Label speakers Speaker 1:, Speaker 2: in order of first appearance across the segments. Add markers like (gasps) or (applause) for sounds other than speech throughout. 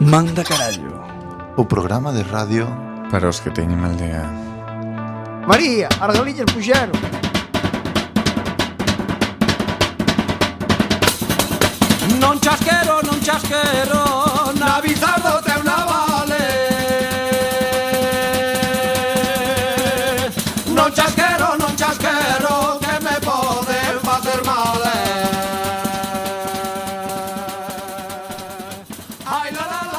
Speaker 1: Manda carallo
Speaker 2: O programa de radio
Speaker 3: Para os que teñen aldea
Speaker 4: María, as galiñas puxeron
Speaker 5: Non chasquero, non chasquero Na bizardo teu navale Non chasquero, non chasquero Que me poden facer mal Ai, la, la, la.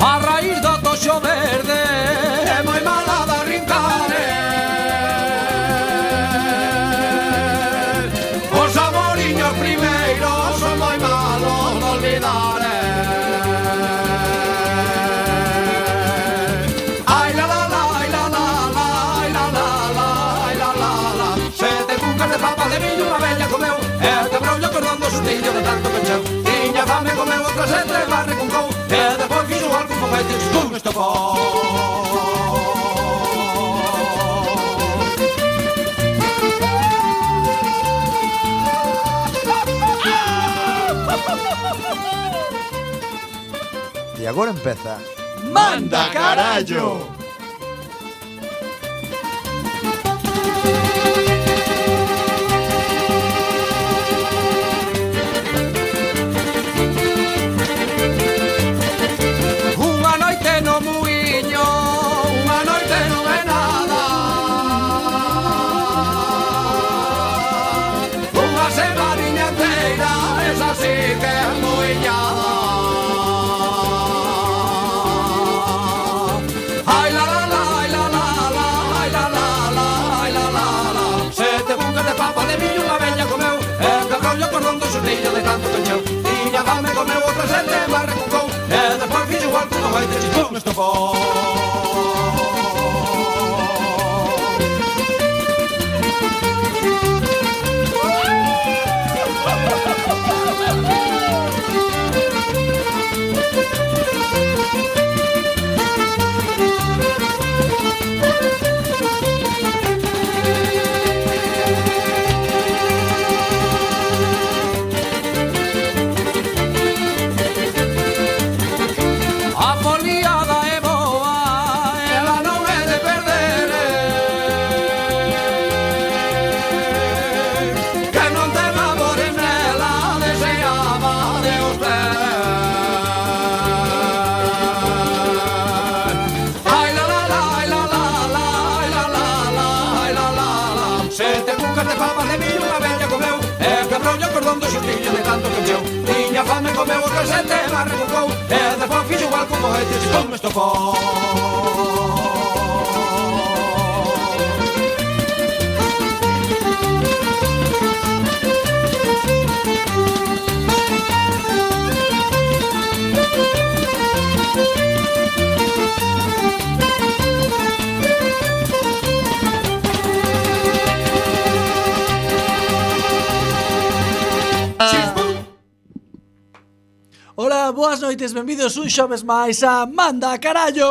Speaker 5: A raíz do toxo verde É moi mala da rincare eh. Os amoriños primeiros Son moi malos de olvidar eh. Ai la la la, ai la la la Ai la la la, ai la la la Sete cucas de papa de millo Unha bella comeu E te brollo cordando sustillo de tanto pecheu Tiña fame comeu outra sete e barre con cou E depois fixo algo con feites con estopou
Speaker 4: E agora empeza
Speaker 5: ¡Manda carallo! Unha noite no muiño, unha noite non é nada Unha semaniña inteira, esa sí que é muiñada Ai la la la, ai la la la, ai la la la, ai la la la Sete bucas de papa de millo unha bella comeu E que rollo cordón do xurrillo de tanto cancheu Tiña fame comeu outra sete e barra cucou E despois fixo igual que unha baita chispón estofón A foliada é boa, ela non é de perder eh. Que non ten amor en ela, deseaba de os ter Ai la la la, ai la la la, ai la la la, ai la la la Sete cucas de papas de millo unha bella comeu E quebrou o cordón do xustillo de tanto que encheu Tiña fame comeu o casete e barra cucou E despois fixo igual como este se come estofou
Speaker 6: Ola, boas noites, benvidos un xoves máis a Manda Carallo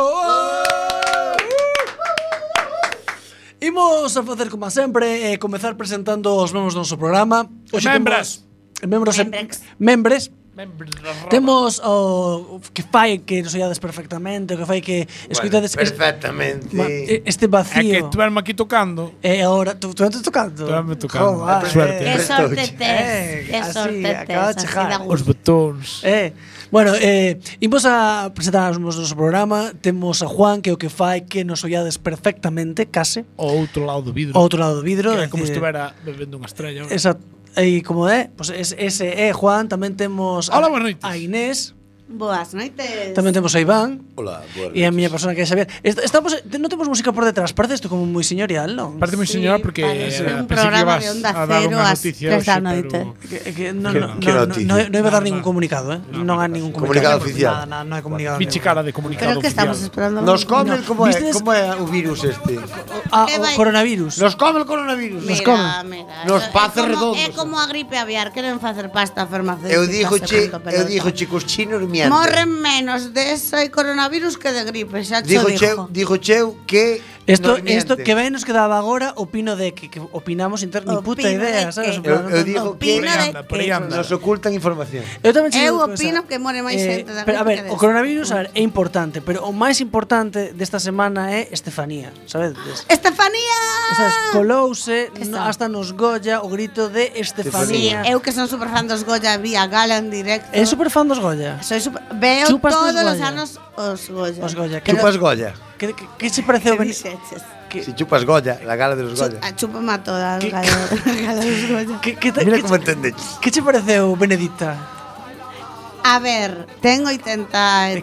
Speaker 6: Imos a facer como a sempre eh, Comezar presentando os membros do noso programa Hoxe
Speaker 7: Membres.
Speaker 6: temos- Membros e-
Speaker 8: Membres.
Speaker 6: Membres Temos o o que fai que nos oiades perfectamente O que fai que escoitades es-
Speaker 7: perfectamente.
Speaker 6: ma- e- este
Speaker 7: É que
Speaker 6: vacío
Speaker 7: estuverme aquí tocando.
Speaker 6: E agora, tú, tú antes tocando?
Speaker 7: Estuverme tocando.
Speaker 6: Joder,
Speaker 7: Suerte.
Speaker 8: Que
Speaker 6: eh.
Speaker 8: sorte
Speaker 6: Eh,
Speaker 8: tes, que
Speaker 6: así,
Speaker 8: sorte tes,
Speaker 6: acaba de
Speaker 8: así
Speaker 6: chegar.
Speaker 8: da
Speaker 7: Os
Speaker 8: gusto.
Speaker 7: botóns.
Speaker 6: Eh, bueno, eh, imos a presentar o noso programa Temos a Juan, que é o que fai que nos ollades perfectamente, case
Speaker 7: O outro lado do vidro.
Speaker 6: Ao outro lado do vidro
Speaker 7: Que é
Speaker 6: é
Speaker 7: como
Speaker 6: dicir,
Speaker 7: estuvera bebendo unha estrella.
Speaker 6: Esa, e como é, pois pues ese é Juan Tamén temos
Speaker 7: Hola, boas noites.
Speaker 6: a Inés
Speaker 8: Boas noites.
Speaker 6: Tamén temos a Iván
Speaker 1: Hola, boas
Speaker 6: e
Speaker 1: noites.
Speaker 6: a miña persona que é Xavier. Est- Estamos, te- non temos música por detrás, parece isto como moi señorial, non?
Speaker 7: Parte moi
Speaker 8: Sí,
Speaker 7: señora porque
Speaker 8: parece
Speaker 7: eh,
Speaker 8: un
Speaker 7: pensei que
Speaker 8: programa
Speaker 7: ibas
Speaker 8: de Onda
Speaker 7: a dar
Speaker 8: Cero
Speaker 7: unha
Speaker 8: ás
Speaker 7: noticia
Speaker 8: tres
Speaker 7: hoxe,
Speaker 8: da noite.
Speaker 7: pero-
Speaker 6: Que, que, non,
Speaker 1: Que-
Speaker 6: non,
Speaker 1: que
Speaker 6: non,
Speaker 1: noticia.
Speaker 6: non, non iba a dar
Speaker 7: Nada,
Speaker 6: ningún
Speaker 7: nada.
Speaker 6: comunicado, eh? Non hai ningún
Speaker 1: Comunicado
Speaker 6: comunicado.
Speaker 1: oficial.
Speaker 6: Nada, nada, non hai comunicado.
Speaker 7: Biche
Speaker 6: ningún.
Speaker 7: cara de comunicado
Speaker 8: Pero que estamos
Speaker 7: oficial.
Speaker 8: esperando.
Speaker 4: Nos come,
Speaker 6: No.
Speaker 4: como, é,
Speaker 6: Vistes-
Speaker 4: como é o virus este?
Speaker 6: Ah, o
Speaker 8: Que vai-
Speaker 6: coronavirus.
Speaker 4: Nos come o coronavirus.
Speaker 8: Mira,
Speaker 6: come.
Speaker 8: mira,
Speaker 4: Nos
Speaker 8: é
Speaker 4: pace
Speaker 8: como-
Speaker 4: redondos.
Speaker 8: É como a gripe aviar, queren facer pasta farmacéutica.
Speaker 4: Eu digo che,
Speaker 8: segundo
Speaker 4: eu
Speaker 8: pelota.
Speaker 4: digo che que os chinos mienten.
Speaker 8: Morren menos de ese coronavirus que de gripe, xa che
Speaker 4: Digo che,
Speaker 8: digo.
Speaker 4: digo cheu que
Speaker 6: Esto,
Speaker 4: nos mienten.
Speaker 6: esto que ben nos quedaba agora opino de que, que opinamos inter ni puta
Speaker 8: Opino de
Speaker 6: idea,
Speaker 8: que-
Speaker 4: Eu,
Speaker 6: sabes? En plan,
Speaker 4: eu
Speaker 6: non-
Speaker 4: digo
Speaker 6: non.
Speaker 7: Por aí
Speaker 8: Opino de
Speaker 7: anda, por aí
Speaker 8: que-
Speaker 7: anda.
Speaker 4: nos ocultan información.
Speaker 6: Eu tamén che
Speaker 8: Eu
Speaker 6: digo
Speaker 8: opino
Speaker 6: cosa.
Speaker 8: que more máis xente
Speaker 6: Eh,
Speaker 8: da
Speaker 6: pero, a
Speaker 8: gripe
Speaker 6: ver,
Speaker 8: que
Speaker 6: o
Speaker 8: desa.
Speaker 6: coronavirus a ver, é importante, pero o máis importante desta semana é Estefanía, sabes?
Speaker 8: Estefanía!
Speaker 6: Esas colouse no,
Speaker 8: Ah! Esa.
Speaker 6: hasta nos Goya o grito de
Speaker 8: Sí,
Speaker 6: Estefanía.
Speaker 8: eu que son super fan dos Goya, vi a Gala en directo.
Speaker 6: É super fan dos Goya.
Speaker 8: Soy super... Veo
Speaker 6: Chupas
Speaker 8: todos
Speaker 6: tus
Speaker 8: los
Speaker 6: Goya.
Speaker 8: años os Goya.
Speaker 6: Os Goya. Que,
Speaker 1: Chupas Goya.
Speaker 6: que, que, que se parece o
Speaker 8: Que
Speaker 6: Ben-
Speaker 8: dixeches.
Speaker 6: que,
Speaker 1: Si chupas Goya, la gala de los Goya.
Speaker 8: Chu- a ah, Chúpame a toda a (laughs) Gala, Gala dos Goya.
Speaker 6: que, que, te-
Speaker 1: Mira
Speaker 6: que,
Speaker 1: como entendeches.
Speaker 6: que che pareceu Benedicta?
Speaker 8: A ver, tengo 80 e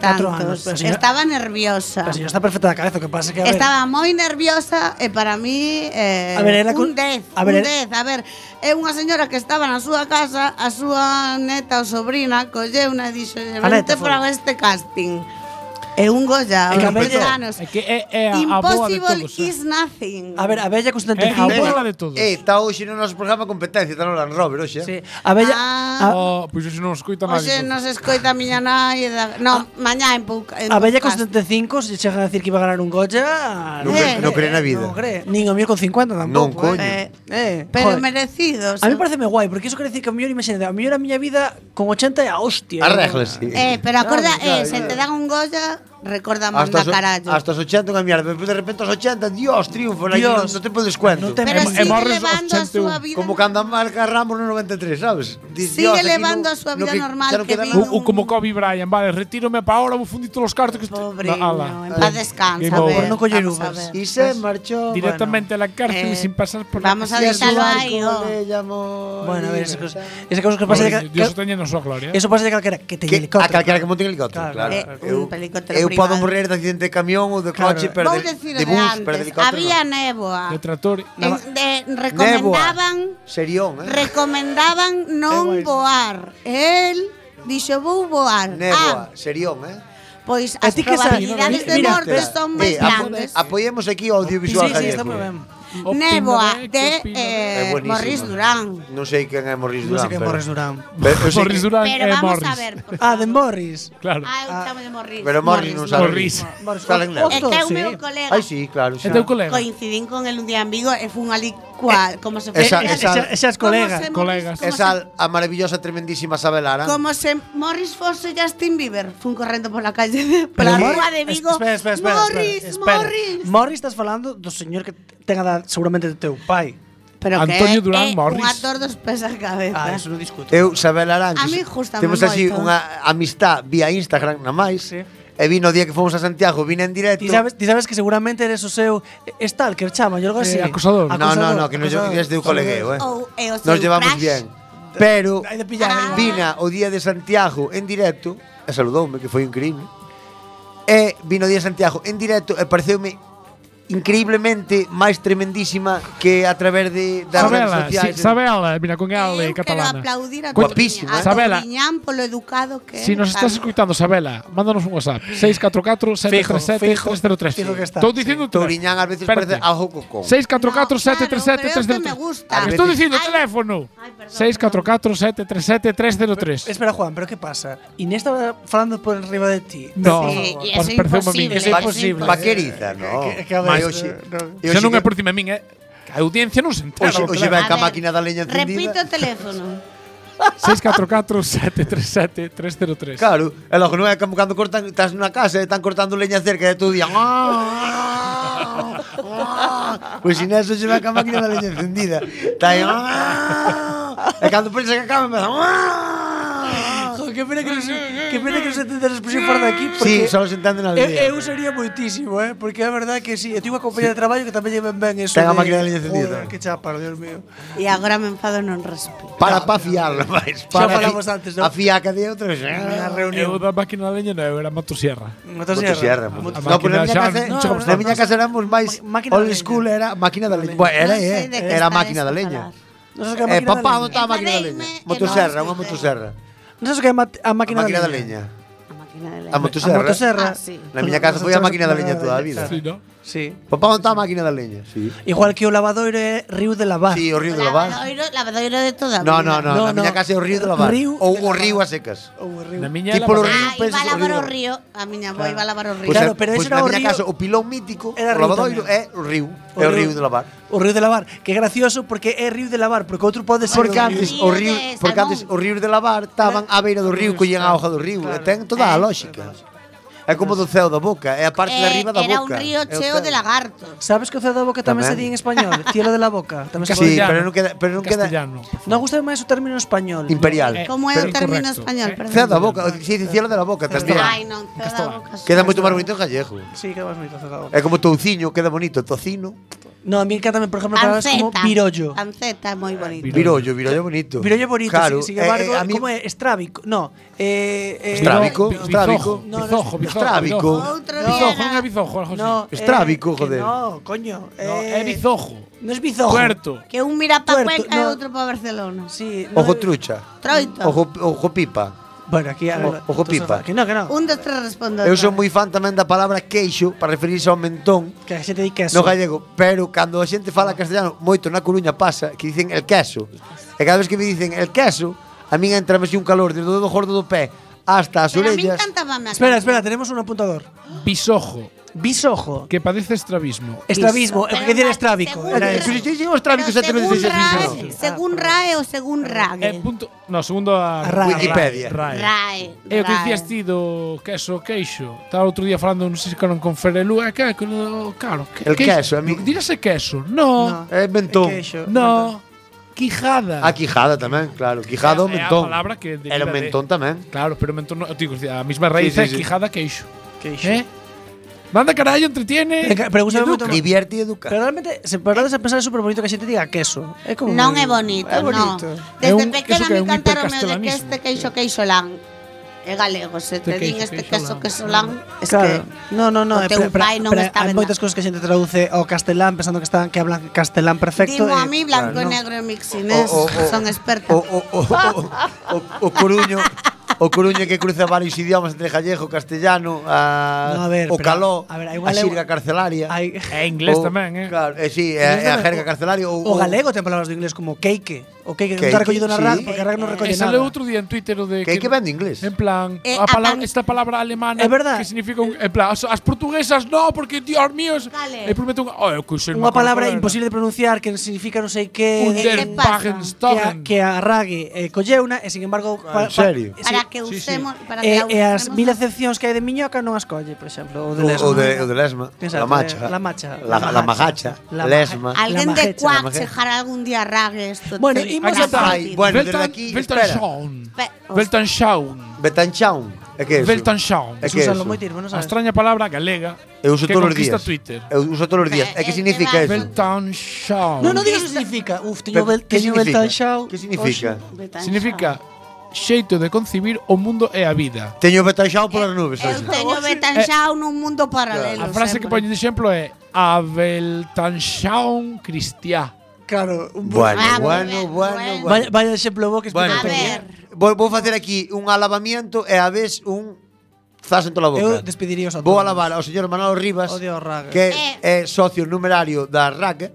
Speaker 6: De catro anos,
Speaker 8: tantos.
Speaker 6: pero señora-
Speaker 8: Estaba nerviosa.
Speaker 6: A señora está perfecta da cabeza, o que pasa que a ver,
Speaker 8: Estaba moi nerviosa e para mí eh,
Speaker 6: A ver, era con-
Speaker 8: un 10,
Speaker 6: a ver,
Speaker 8: un
Speaker 6: era-
Speaker 8: 10, a ver, é unha señora que estaba na súa casa, a súa neta ou sobrina colleuna e dixo,
Speaker 6: A neta
Speaker 8: vente
Speaker 6: foi.
Speaker 8: para este casting. É un Goya,
Speaker 6: É que a
Speaker 8: aos
Speaker 6: ver,
Speaker 8: 20 anos.
Speaker 7: É que é, é a, a boa de
Speaker 8: Impossible
Speaker 7: todos. eh.
Speaker 8: is nothing.
Speaker 6: a ver, a bella constante
Speaker 7: É a boa de todos.
Speaker 4: Eh, está hoxe no noso programa competencia, está no Land Rover hoxe.
Speaker 6: Sí, a bella
Speaker 8: Ah.
Speaker 6: a-
Speaker 7: Oh, pois hoxe non escoita nadie.
Speaker 8: Oxe, nos escoita a miña nai e da... No, mañá en Pouca. en
Speaker 6: Ah. A Bella con
Speaker 8: Poucas.
Speaker 6: 75 se chega a decir que iba a ganar un Goya.
Speaker 4: Non
Speaker 8: cre- non
Speaker 4: cree na vida.
Speaker 6: Non cree. Nin o mío con 50 tampouco.
Speaker 4: Non, coño.
Speaker 6: Eh, eh,
Speaker 8: Pero
Speaker 6: joder.
Speaker 8: merecidos.
Speaker 6: A mí pareceme guai, porque iso quere decir que a mellor imagínate, a mellor a miña vida con 80 é a hostia.
Speaker 4: Arréglase.
Speaker 8: Eh, pero acorda,
Speaker 4: Claro,
Speaker 8: eh, se
Speaker 4: claro.
Speaker 8: te dan un Goya, recorda más
Speaker 4: Hasta,
Speaker 8: da
Speaker 4: os,
Speaker 8: carallo.
Speaker 4: hasta os 80 unha mierda, pero de repente os 80, Dios, triunfo, aí non,
Speaker 6: Dios.
Speaker 4: non te podes cuento.
Speaker 6: Non te-
Speaker 8: pero
Speaker 6: em-
Speaker 8: sigue
Speaker 7: emorres os
Speaker 8: levando a
Speaker 7: 81,
Speaker 8: súa vida.
Speaker 4: Como cando a marca Ramos no 93, sabes?
Speaker 8: Sigue levando a súa vida normal que
Speaker 4: vive.
Speaker 8: vive.
Speaker 7: O, o como Kobe Bryant, vale, retírome para ahora, vou fundir todos os cartos que Na-
Speaker 8: Pobre,
Speaker 7: ala.
Speaker 8: no, em- en
Speaker 4: Em-
Speaker 8: paz descansa.
Speaker 7: Game
Speaker 8: a
Speaker 7: over.
Speaker 8: ver,
Speaker 6: No coller
Speaker 8: Eh, vamos a
Speaker 6: uvas.
Speaker 8: ver.
Speaker 4: Y se marchó.
Speaker 7: Directamente a la cárcel
Speaker 8: Eh,
Speaker 7: sin pasar por
Speaker 8: vamos
Speaker 7: la
Speaker 8: a
Speaker 4: Bueno, y a su
Speaker 8: déjalo ahí,
Speaker 4: barco
Speaker 8: oh.
Speaker 4: le llamó
Speaker 6: Bueno, a ver, esa cosa,
Speaker 4: libertad.
Speaker 6: esa cosa que pasa de ca-
Speaker 7: Dios o
Speaker 6: ca-
Speaker 7: teña na súa gloria.
Speaker 6: Eso pasa de calquera, que te
Speaker 4: Que, a
Speaker 6: helicóptero.
Speaker 4: calquera que monte en helicóptero,
Speaker 6: Claro,
Speaker 4: claro.
Speaker 8: Eh, un helicóptero
Speaker 4: eu
Speaker 8: privado.
Speaker 4: podo morrer de accidente de camión ou de
Speaker 6: Claro.
Speaker 4: coche, pero
Speaker 8: Vou
Speaker 4: de,
Speaker 8: decir
Speaker 4: de
Speaker 8: de
Speaker 4: bus, pero de
Speaker 8: antes,
Speaker 4: helicóptero.
Speaker 8: había néboa.
Speaker 7: De trator.
Speaker 8: En- de- recomendaban,
Speaker 4: Serión, eh?
Speaker 8: recomendaban non voar. El dixo vou voar.
Speaker 4: Néboa,
Speaker 8: Ah,
Speaker 4: serión, eh?
Speaker 8: pois
Speaker 6: A
Speaker 8: as
Speaker 6: ti que sabes,
Speaker 8: probabilidades
Speaker 6: mira,
Speaker 8: de
Speaker 6: mira,
Speaker 8: morte
Speaker 6: espera.
Speaker 8: son máis
Speaker 4: Eh, apo-
Speaker 8: grandes.
Speaker 4: apoyemos aquí o audiovisual
Speaker 6: sí, sí,
Speaker 4: gallego.
Speaker 6: está moi ben.
Speaker 7: Opinaré, que
Speaker 8: Néboa de
Speaker 7: opinaré.
Speaker 4: É
Speaker 8: eh,
Speaker 4: buenísimo.
Speaker 8: Morris Durán.
Speaker 4: Non sei quen é Morris
Speaker 6: Non
Speaker 4: Durán.
Speaker 6: sei que é
Speaker 4: pero- eh,
Speaker 6: Morris Durán.
Speaker 4: Pero, eu sei
Speaker 7: Morris
Speaker 4: que-
Speaker 7: Durán
Speaker 8: Pero
Speaker 7: é
Speaker 8: vamos
Speaker 7: Morris.
Speaker 8: a ver. por
Speaker 6: eh, Ah, de
Speaker 8: favor.
Speaker 6: Morris.
Speaker 7: Claro.
Speaker 8: Ah, eu chamo de Morris.
Speaker 4: Pero Morris non sabe.
Speaker 7: Morris.
Speaker 6: Morris.
Speaker 4: Salen
Speaker 6: O-
Speaker 4: negros.
Speaker 8: É que é o
Speaker 6: sí.
Speaker 8: meu colega.
Speaker 4: Ai, sí, claro.
Speaker 7: É
Speaker 4: Xa.
Speaker 7: teu colega.
Speaker 8: Coincidín con el un día en Vigo e fun ali cual, como se
Speaker 4: Eh, Esa-
Speaker 8: fose-
Speaker 4: esa-
Speaker 8: Como
Speaker 6: esas
Speaker 8: se
Speaker 6: colegas,
Speaker 8: Morris-
Speaker 7: colegas.
Speaker 8: como se-
Speaker 4: Esa a maravillosa, tremendísima Sabel Arán.
Speaker 8: Como se Morris fose Justin Bieber, fun correndo pola calle, de- pola rúa de Vigo.
Speaker 6: Espera, espera, espera,
Speaker 8: Morris,
Speaker 6: espera, espera.
Speaker 8: Morris.
Speaker 6: Morris estás falando do señor que tenga da, seguramente do teu pai.
Speaker 8: Pero que
Speaker 7: Antonio Durán
Speaker 8: é
Speaker 7: Morris.
Speaker 8: Eh, Un actor dos pés a cabeza.
Speaker 6: Ah, eso non discuto.
Speaker 4: Eu, Sabel Arán,
Speaker 8: A
Speaker 4: que
Speaker 8: mí
Speaker 4: se-
Speaker 8: gústame
Speaker 4: temos así
Speaker 8: moito.
Speaker 4: unha amistad vía Instagram na máis.
Speaker 6: Sí.
Speaker 4: E vino o día que fomos a Santiago, vine en directo.
Speaker 6: Ti sabes, ti sabes que seguramente eres o seu eh, stalker, chama, yo algo así.
Speaker 7: Eh, acosador.
Speaker 4: No, no, no, que nos
Speaker 6: acosador.
Speaker 4: lleves de un colegueo, eh.
Speaker 8: Ou é o seu
Speaker 4: Nos llevamos
Speaker 8: crush.
Speaker 4: bien. Pero
Speaker 6: Hai de pillar.
Speaker 8: Ah.
Speaker 6: aí.
Speaker 4: vina o día de Santiago en directo, e saludoume, que foi increíble. E vino o día de Santiago en directo e pareceume increíblemente máis tremendísima que a través de das redes
Speaker 7: Sabela, sí,
Speaker 4: sociais.
Speaker 7: Sabela, mira, con E ela é
Speaker 8: Eu quero
Speaker 7: catalana.
Speaker 8: aplaudir a
Speaker 4: Guapísima,
Speaker 8: Tobiñán,
Speaker 7: eh. Sabela.
Speaker 8: a Tobiñán polo educado que
Speaker 7: Si
Speaker 8: é,
Speaker 7: nos estás
Speaker 8: sabe?
Speaker 7: escuchando, Sabela, mándanos un WhatsApp. 644 737 303.
Speaker 6: Fijo que está.
Speaker 7: Estou dicindo o
Speaker 4: Touriñán ás veces parece algo cocón.
Speaker 7: 644 737
Speaker 8: No, claro, pero é o que
Speaker 7: 303.
Speaker 8: me gusta.
Speaker 7: Estou
Speaker 4: Ay,
Speaker 7: dicindo o
Speaker 8: perdón.
Speaker 7: teléfono.
Speaker 8: Ay, perdón,
Speaker 7: 644 737 303.
Speaker 6: Espera, Juan, pero que pasa? Inés estaba falando por arriba de ti.
Speaker 7: No,
Speaker 8: Sí, e
Speaker 7: pas-
Speaker 8: é
Speaker 7: pareceume a min.
Speaker 8: imposible.
Speaker 6: Eso é
Speaker 4: Pa-
Speaker 6: imposible.
Speaker 4: Paqueriza, no.
Speaker 6: Eh, que- que a ver,
Speaker 4: Mai hoxe. e
Speaker 7: Xa
Speaker 4: hoxe
Speaker 7: non é
Speaker 4: que-
Speaker 7: por ti, a min, eh. A audiencia non se entera.
Speaker 4: Hoxe-
Speaker 7: do
Speaker 4: hoxe
Speaker 7: teléfono.
Speaker 4: vai ca
Speaker 8: A ver,
Speaker 4: máquina da leña encendida.
Speaker 8: Repito o teléfono.
Speaker 7: 644 737 303.
Speaker 4: Claro, e logo non é como cando cortan, estás na casa e están cortando leña cerca e tú dían Pois sin eso se vai ca máquina da leña encendida Está aí "Ah". E cando pensa que acaba empeza "Ah".
Speaker 6: Joder, que pena que non se, que pena que non se entenda a expresión fora daqui
Speaker 4: Sí,
Speaker 6: porque
Speaker 4: só se entenden al
Speaker 6: eu,
Speaker 4: día.
Speaker 6: eu sería moitísimo, eh, porque é verdad que si, sí, eu tive unha compañera de traballo que tamén lleven ben eso.
Speaker 4: Ten a
Speaker 6: de-
Speaker 4: máquina de leña encendida
Speaker 6: Joder,
Speaker 4: tamén.
Speaker 6: Que chapa, Dios mío.
Speaker 8: E agora me enfado non respiro.
Speaker 4: Para pa fiarla, máis.
Speaker 6: Xa
Speaker 4: Para
Speaker 6: falamos antes, Ah, non?
Speaker 4: A fiaca de outros. eh.
Speaker 6: Unha
Speaker 7: Eu
Speaker 6: reunión.
Speaker 7: da máquina da leña non, era motosierra.
Speaker 6: Motosierra.
Speaker 7: puto.
Speaker 4: No, pero na miña
Speaker 7: Xa-
Speaker 4: casa, no,
Speaker 7: non,
Speaker 4: na
Speaker 7: non,
Speaker 4: miña
Speaker 7: non.
Speaker 4: casa éramos máis
Speaker 6: Máquina da
Speaker 4: old
Speaker 6: leña.
Speaker 4: school, era a máquina da leña. Bueno, era,
Speaker 8: Non
Speaker 4: eh,
Speaker 8: sei de que
Speaker 4: era a
Speaker 8: estades
Speaker 4: máquina da
Speaker 8: a
Speaker 4: leña.
Speaker 8: falar.
Speaker 6: Non sabes que é a
Speaker 4: Eh,
Speaker 6: máquina
Speaker 4: papá,
Speaker 6: da
Speaker 4: onde
Speaker 6: leña.
Speaker 4: está a máquina da
Speaker 8: Enfadeime
Speaker 4: leña?
Speaker 8: e non
Speaker 4: Motoserra,
Speaker 8: escoitei.
Speaker 4: unha motoserra.
Speaker 6: Non sabes que é a ma- a
Speaker 4: A
Speaker 6: máquina,
Speaker 4: máquina da
Speaker 6: da
Speaker 4: leña.
Speaker 6: leña.
Speaker 8: A máquina
Speaker 4: A
Speaker 8: de
Speaker 6: A
Speaker 4: motoserra.
Speaker 6: motoserra.
Speaker 8: Ah, sí.
Speaker 4: Na miña casa foi a máquina da leña toda a vida.
Speaker 7: Sí, ¿no?
Speaker 6: Sí.
Speaker 4: Papá, onde está a máquina da leña? Sí.
Speaker 6: Igual que o lavadoiro é río de lavar.
Speaker 4: Sí, o río de Lavar.
Speaker 8: Lavadoiro, lavadoiro de toda a
Speaker 4: No, no,
Speaker 8: vida.
Speaker 4: no,
Speaker 6: No,
Speaker 4: na miña
Speaker 6: no.
Speaker 4: casa é o río de Lavar.
Speaker 6: Río
Speaker 4: Ou
Speaker 6: de
Speaker 4: o
Speaker 6: Lavar.
Speaker 4: río a secas.
Speaker 6: O río.
Speaker 7: Na miña
Speaker 4: Tipo
Speaker 7: era
Speaker 4: los-
Speaker 8: Ah,
Speaker 4: penses
Speaker 8: iba a lavar
Speaker 4: o
Speaker 8: o
Speaker 4: río.
Speaker 8: río. A miña avó iba a lavar o río.
Speaker 4: Pois
Speaker 6: Claro,
Speaker 4: é-
Speaker 6: pero
Speaker 4: pois
Speaker 6: ese
Speaker 4: na
Speaker 6: era o
Speaker 4: miña
Speaker 6: río-
Speaker 4: casa o pilón mítico,
Speaker 6: Era
Speaker 4: o
Speaker 6: río
Speaker 4: lavadoiro
Speaker 6: tamén.
Speaker 4: é o río, é o río de Lavar.
Speaker 6: O río de lavar, que é gracioso porque é río de lavar, porque outro pode ser
Speaker 4: Porque
Speaker 6: o
Speaker 4: antes
Speaker 6: río.
Speaker 8: río
Speaker 4: o
Speaker 8: de
Speaker 4: río,
Speaker 8: Salmón.
Speaker 4: porque antes o río de lavar estaban á beira do río, collían a hoja do río, e ten toda a lógica. É como do ceo da boca, é a parte de
Speaker 8: Eh,
Speaker 4: arriba da boca.
Speaker 8: Era un
Speaker 4: é o
Speaker 8: río
Speaker 4: ceo.
Speaker 8: cheo de lagartos.
Speaker 6: Sabes que o ceo da boca tamén,
Speaker 4: Tamén.
Speaker 6: se di en español,
Speaker 4: (laughs)
Speaker 6: cielo de la boca, tamén se
Speaker 4: Sí,
Speaker 6: pode.
Speaker 4: pero non queda, pero non queda
Speaker 7: castellano.
Speaker 6: Non gusta máis o término español.
Speaker 4: imperial.
Speaker 7: Eh,
Speaker 8: Como é o
Speaker 7: pero
Speaker 8: término
Speaker 7: incorrecto.
Speaker 8: español?
Speaker 7: Eh,
Speaker 8: Perdón.
Speaker 4: Ceo da boca, o- si dice cielo de la boca tamén.
Speaker 8: Ai, non, ceo da boca.
Speaker 4: Queda moito máis bonito en gallego.
Speaker 6: Sí, que vas bonito ceo da boca.
Speaker 4: É como touciño, queda bonito, tocino,
Speaker 6: No, a mí encantame, por exemplo, palabras
Speaker 8: Panceta.
Speaker 6: como pirollo.
Speaker 8: Panceta é moi bonito.
Speaker 4: virollo, virollo bonito.
Speaker 6: Pirollo é bonito,
Speaker 4: claro,
Speaker 6: sin sin
Speaker 4: eh, eh,
Speaker 6: embargo,
Speaker 4: a mí-
Speaker 6: como é estrábico. No, eh, eh
Speaker 4: Estrábico,
Speaker 7: Bi- bi-
Speaker 4: estrábico.
Speaker 7: bizojo,
Speaker 6: No, no,
Speaker 7: bizojo, bizojo,
Speaker 4: estrábico.
Speaker 7: bizojo.
Speaker 8: Outro día
Speaker 7: Bizojo, non é
Speaker 8: era-
Speaker 7: bizojo, algo así.
Speaker 6: No, eh,
Speaker 4: Estrábico,
Speaker 6: que
Speaker 4: joder.
Speaker 6: No, coño.
Speaker 7: No, é
Speaker 6: eh,
Speaker 7: bizojo.
Speaker 6: No es bizojo.
Speaker 7: Puerto.
Speaker 8: Que un mira pa
Speaker 6: Tuerto,
Speaker 8: Cuenca e
Speaker 6: no.
Speaker 8: outro pa Barcelona.
Speaker 6: Sí, no
Speaker 4: ojo
Speaker 6: es-
Speaker 4: trucha,
Speaker 8: Troito.
Speaker 4: ojo, ojo pipa.
Speaker 6: Bueno, aquí
Speaker 4: Ojo-
Speaker 6: ahora-
Speaker 4: ojo
Speaker 6: entonces,
Speaker 4: pipa.
Speaker 6: Que no, que no.
Speaker 8: Un dos tres respondo.
Speaker 4: Eu
Speaker 8: outra
Speaker 4: son
Speaker 8: vez.
Speaker 4: moi fan tamén da palabra queixo para referirse ao mentón
Speaker 6: Que a xente di queso.
Speaker 4: no gallego, pero cando a xente fala castellano, moito na Coruña pasa que dicen el queso. E cada vez que me dicen el queso, a min entrame así un calor desde o dedo gordo do pé hasta as
Speaker 8: Pero a mí
Speaker 4: orellas.
Speaker 8: encantaba me
Speaker 6: Espera, espera, tenemos un apuntador.
Speaker 7: Bisojo,
Speaker 6: Bisojo.
Speaker 7: que padece estrabismo.
Speaker 6: Estrabismo.
Speaker 8: Pero
Speaker 6: ¿Qué quiere
Speaker 8: va-
Speaker 6: estrábico?
Speaker 8: según
Speaker 6: Era
Speaker 8: Ra-
Speaker 4: Eh,
Speaker 6: eso.
Speaker 4: Pero si llegan os tráficos
Speaker 8: Pero
Speaker 4: a tener
Speaker 8: según
Speaker 4: desecho,
Speaker 8: RAE,
Speaker 4: sí, Ah,
Speaker 6: no.
Speaker 8: Según RAE ou según RAE.
Speaker 7: É Eh, punto, no, segundo a,
Speaker 6: A RAE.
Speaker 4: Wikipedia.
Speaker 7: RAE.
Speaker 8: RAE.
Speaker 7: É o que
Speaker 8: RAE.
Speaker 7: dicías ti do queso queixo. Estaba outro día falando, non sei se caron con Ferelú, é que con o caro. Que,
Speaker 4: El queso, a mí-
Speaker 7: Dirase queso. No.
Speaker 4: É mentón.
Speaker 6: Queixo.
Speaker 7: No. Quijada.
Speaker 4: A quijada tamén, claro. Ah, Quijada ou
Speaker 7: É a- é a
Speaker 4: mentón.
Speaker 7: Eh, palabra que deriva
Speaker 4: Era
Speaker 7: de-
Speaker 4: mentón tamén.
Speaker 7: Claro, pero mentón, no, digo, a mesma raíz
Speaker 4: Sí,
Speaker 7: é
Speaker 4: sí, sí.
Speaker 7: quijada queixo.
Speaker 6: Queixo.
Speaker 7: Eh? Manda carallo, entretiene.
Speaker 6: Venga, pero gústame moito máis.
Speaker 4: Divierte e educa.
Speaker 6: Pero realmente, se para de pensar, é súper bonito que a xente diga queso. É como
Speaker 8: Non é bonito,
Speaker 6: É bonito.
Speaker 8: non.
Speaker 7: É
Speaker 8: Desde
Speaker 7: un-
Speaker 8: pequena
Speaker 7: eso que é
Speaker 8: me
Speaker 7: un
Speaker 8: cantaron o de que
Speaker 7: hipercastelanismo.
Speaker 8: este queixo queixolán. É galego, se te
Speaker 7: Este
Speaker 8: din
Speaker 7: queixo
Speaker 8: este queso
Speaker 7: queixolán.
Speaker 8: queixolán, es
Speaker 6: Claro.
Speaker 8: que
Speaker 6: No, no, no. é
Speaker 8: o
Speaker 6: pre-
Speaker 8: teu
Speaker 6: pre-
Speaker 8: pai non
Speaker 6: pre-
Speaker 8: está
Speaker 6: hai
Speaker 8: ben
Speaker 6: moitas
Speaker 8: dado.
Speaker 6: cousas que a xente traduce ao castelán pensando que están que hablan castelán perfecto. e-
Speaker 8: Dimo a mí blanco
Speaker 6: Claro, no.
Speaker 8: e negro e mixinés,
Speaker 4: O- o- o-
Speaker 8: son experta.
Speaker 4: O, o, o, o, o, o Coruño O Coruño que cruza varios idiomas entre gallego, castellano, a,
Speaker 6: No, a ver,
Speaker 4: o
Speaker 6: pero-
Speaker 4: caló,
Speaker 6: a ver,
Speaker 4: a
Speaker 6: hai unha
Speaker 4: xirga
Speaker 6: lengua-
Speaker 4: carcelaria.
Speaker 6: Hai-
Speaker 7: É inglés
Speaker 4: O-
Speaker 7: tamén, eh?
Speaker 4: Claro, eh, sí, é, é a jerga carcelaria ou
Speaker 6: (laughs) O galego ten palabras do inglés como cake. O cake, que non
Speaker 4: Cake,
Speaker 6: está recollido na
Speaker 4: sí.
Speaker 6: RAC, porque a RAC non recolle
Speaker 7: E
Speaker 6: nada.
Speaker 7: Eh, sale outro día en Twitter o de
Speaker 4: Que hai que vende inglés.
Speaker 7: En plan,
Speaker 8: Eh,
Speaker 7: a pala-
Speaker 8: apan-
Speaker 7: esta palabra alemana
Speaker 6: É verdad.
Speaker 7: que significa un, en plan, as, as portuguesas no, porque dios mío, es-
Speaker 8: Vale.
Speaker 7: e promete unha, oh, eu coixo,
Speaker 6: Unha palabra imposible de pronunciar que significa non sei que
Speaker 7: Un
Speaker 8: que
Speaker 7: der
Speaker 6: eh,
Speaker 8: pasa?
Speaker 6: que a,
Speaker 7: Wagenstogen.
Speaker 6: que a Rague eh, colleuna e sin embargo pa- pa-
Speaker 4: serio?
Speaker 6: sí.
Speaker 8: Para que
Speaker 7: sí, sí.
Speaker 8: usemos, para que
Speaker 6: E,
Speaker 8: a
Speaker 6: e as
Speaker 8: usemos
Speaker 6: mil excepcións que hai de miñoca non as colle, por exemplo, ou de lesma.
Speaker 4: O, o, de, o de Lesma, la
Speaker 6: Exacto,
Speaker 4: macha,
Speaker 6: de- la macha,
Speaker 4: la,
Speaker 6: la
Speaker 4: la
Speaker 6: majacha,
Speaker 4: magacha,
Speaker 6: la
Speaker 4: Lesma.
Speaker 6: maja-
Speaker 8: Alguén
Speaker 6: La
Speaker 8: de
Speaker 4: la
Speaker 6: majecha,
Speaker 8: Cuac
Speaker 4: majecha.
Speaker 8: se jara algún día rague esto.
Speaker 6: Bueno,
Speaker 8: te-
Speaker 6: Eh, imos
Speaker 8: para
Speaker 6: ata-
Speaker 8: falar.
Speaker 4: Ai, bueno, desde aquí, espera.
Speaker 7: Weltanschauung.
Speaker 8: Pe- os-
Speaker 7: Weltanschauung.
Speaker 4: Betanchaun, é que é ¿eh eso?
Speaker 7: Weltanschauung.
Speaker 4: É
Speaker 6: Es
Speaker 4: que é
Speaker 6: un
Speaker 4: eso?
Speaker 6: moi tirmo, non
Speaker 7: A
Speaker 6: sabes?
Speaker 7: extraña palabra galega
Speaker 4: Eu uso
Speaker 7: que
Speaker 4: todos os
Speaker 7: conquista
Speaker 4: días.
Speaker 7: Twitter.
Speaker 4: Eu uso todos os días. É que
Speaker 8: Eh,
Speaker 4: significa
Speaker 8: eh,
Speaker 4: eso?
Speaker 7: Weltanschauung.
Speaker 6: Non, non digas o que significa. Uf, teño
Speaker 4: Pero,
Speaker 6: vel,
Speaker 4: que
Speaker 6: teño
Speaker 4: significa?
Speaker 6: Beltanxau.
Speaker 4: Que significa?
Speaker 7: Significa xeito de concibir o mundo e a vida.
Speaker 4: Teño Betanchaun polas nubes.
Speaker 8: Eu
Speaker 4: hoxe.
Speaker 8: teño
Speaker 6: Eh,
Speaker 8: Betanxao nun mundo paralelo.
Speaker 7: A frase que poñen de exemplo é A Weltanschauung Cristiá.
Speaker 6: Claro, un bo-
Speaker 4: Bueno,
Speaker 8: Ah, muy
Speaker 4: bueno, bueno,
Speaker 8: bien, bueno.
Speaker 4: bueno.
Speaker 6: Vaya, vaya exemplo bo que
Speaker 4: Bueno,
Speaker 8: A
Speaker 6: explica
Speaker 8: ver,
Speaker 6: Peña.
Speaker 4: Vou, vou facer aquí un alabamiento e a vez un zas en toda a boca.
Speaker 6: Eu despediría os a
Speaker 4: Vou
Speaker 6: todos.
Speaker 4: alabar ao señor Manolo Rivas,
Speaker 6: Odio o Raga.
Speaker 4: que
Speaker 8: Eh.
Speaker 4: é socio numerario da RAC,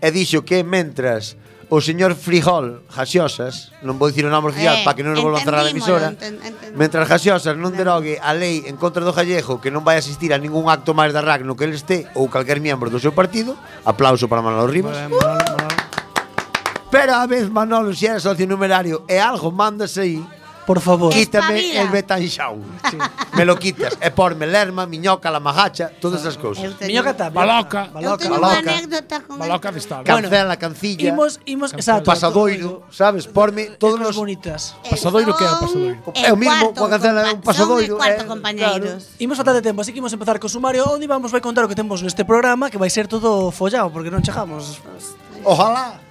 Speaker 4: e dixo que mentras o señor Frijol Jasiosas, non vou dicir o nome oficial
Speaker 8: Eh,
Speaker 4: para que non nos volvan a cerrar a
Speaker 8: entendímolo,
Speaker 4: emisora,
Speaker 8: enten- entendímolo.
Speaker 4: mentras Jasiosas non derogue a lei en contra do gallego que non vai asistir a ningún acto máis da RAC no que el este ou calquer membro do seu partido, aplauso para Manolo Rivas. Pero a vez Manolo, se era socio numerario e algo mándase aí,
Speaker 6: por favor.
Speaker 4: Quítame
Speaker 8: Espabila.
Speaker 4: el Betanchau. Me lo quitas. E porme lerma, miñoca, la majacha, todas esas cousas.
Speaker 8: Eu teño-
Speaker 6: Miño Cata,
Speaker 7: Baloca.
Speaker 8: Eu
Speaker 6: Baloca.
Speaker 8: teño
Speaker 4: Baloca.
Speaker 8: unha anécdota con
Speaker 7: Baloca de estar.
Speaker 8: esto.
Speaker 6: Bueno,
Speaker 4: Cancela, cancilla,
Speaker 6: Imos, imos, exacto.
Speaker 4: pasadoiro, sabes? Porme todos
Speaker 6: Todas
Speaker 4: los...
Speaker 6: bonitas.
Speaker 8: E
Speaker 7: Pasadoiro, que é o
Speaker 8: son
Speaker 7: pasadoiro?
Speaker 4: É o mismo,
Speaker 8: cuarto
Speaker 4: coa cancela é un
Speaker 8: compa-
Speaker 4: pasadoiro,
Speaker 8: Son e cuarto
Speaker 4: eh,
Speaker 8: compañeiros.
Speaker 6: Imos faltar de tempo, así que imos empezar co sumario onde vamos vai contar o que temos neste programa que vai ser todo follado porque non chegamos.
Speaker 8: Oh.
Speaker 4: Ojalá.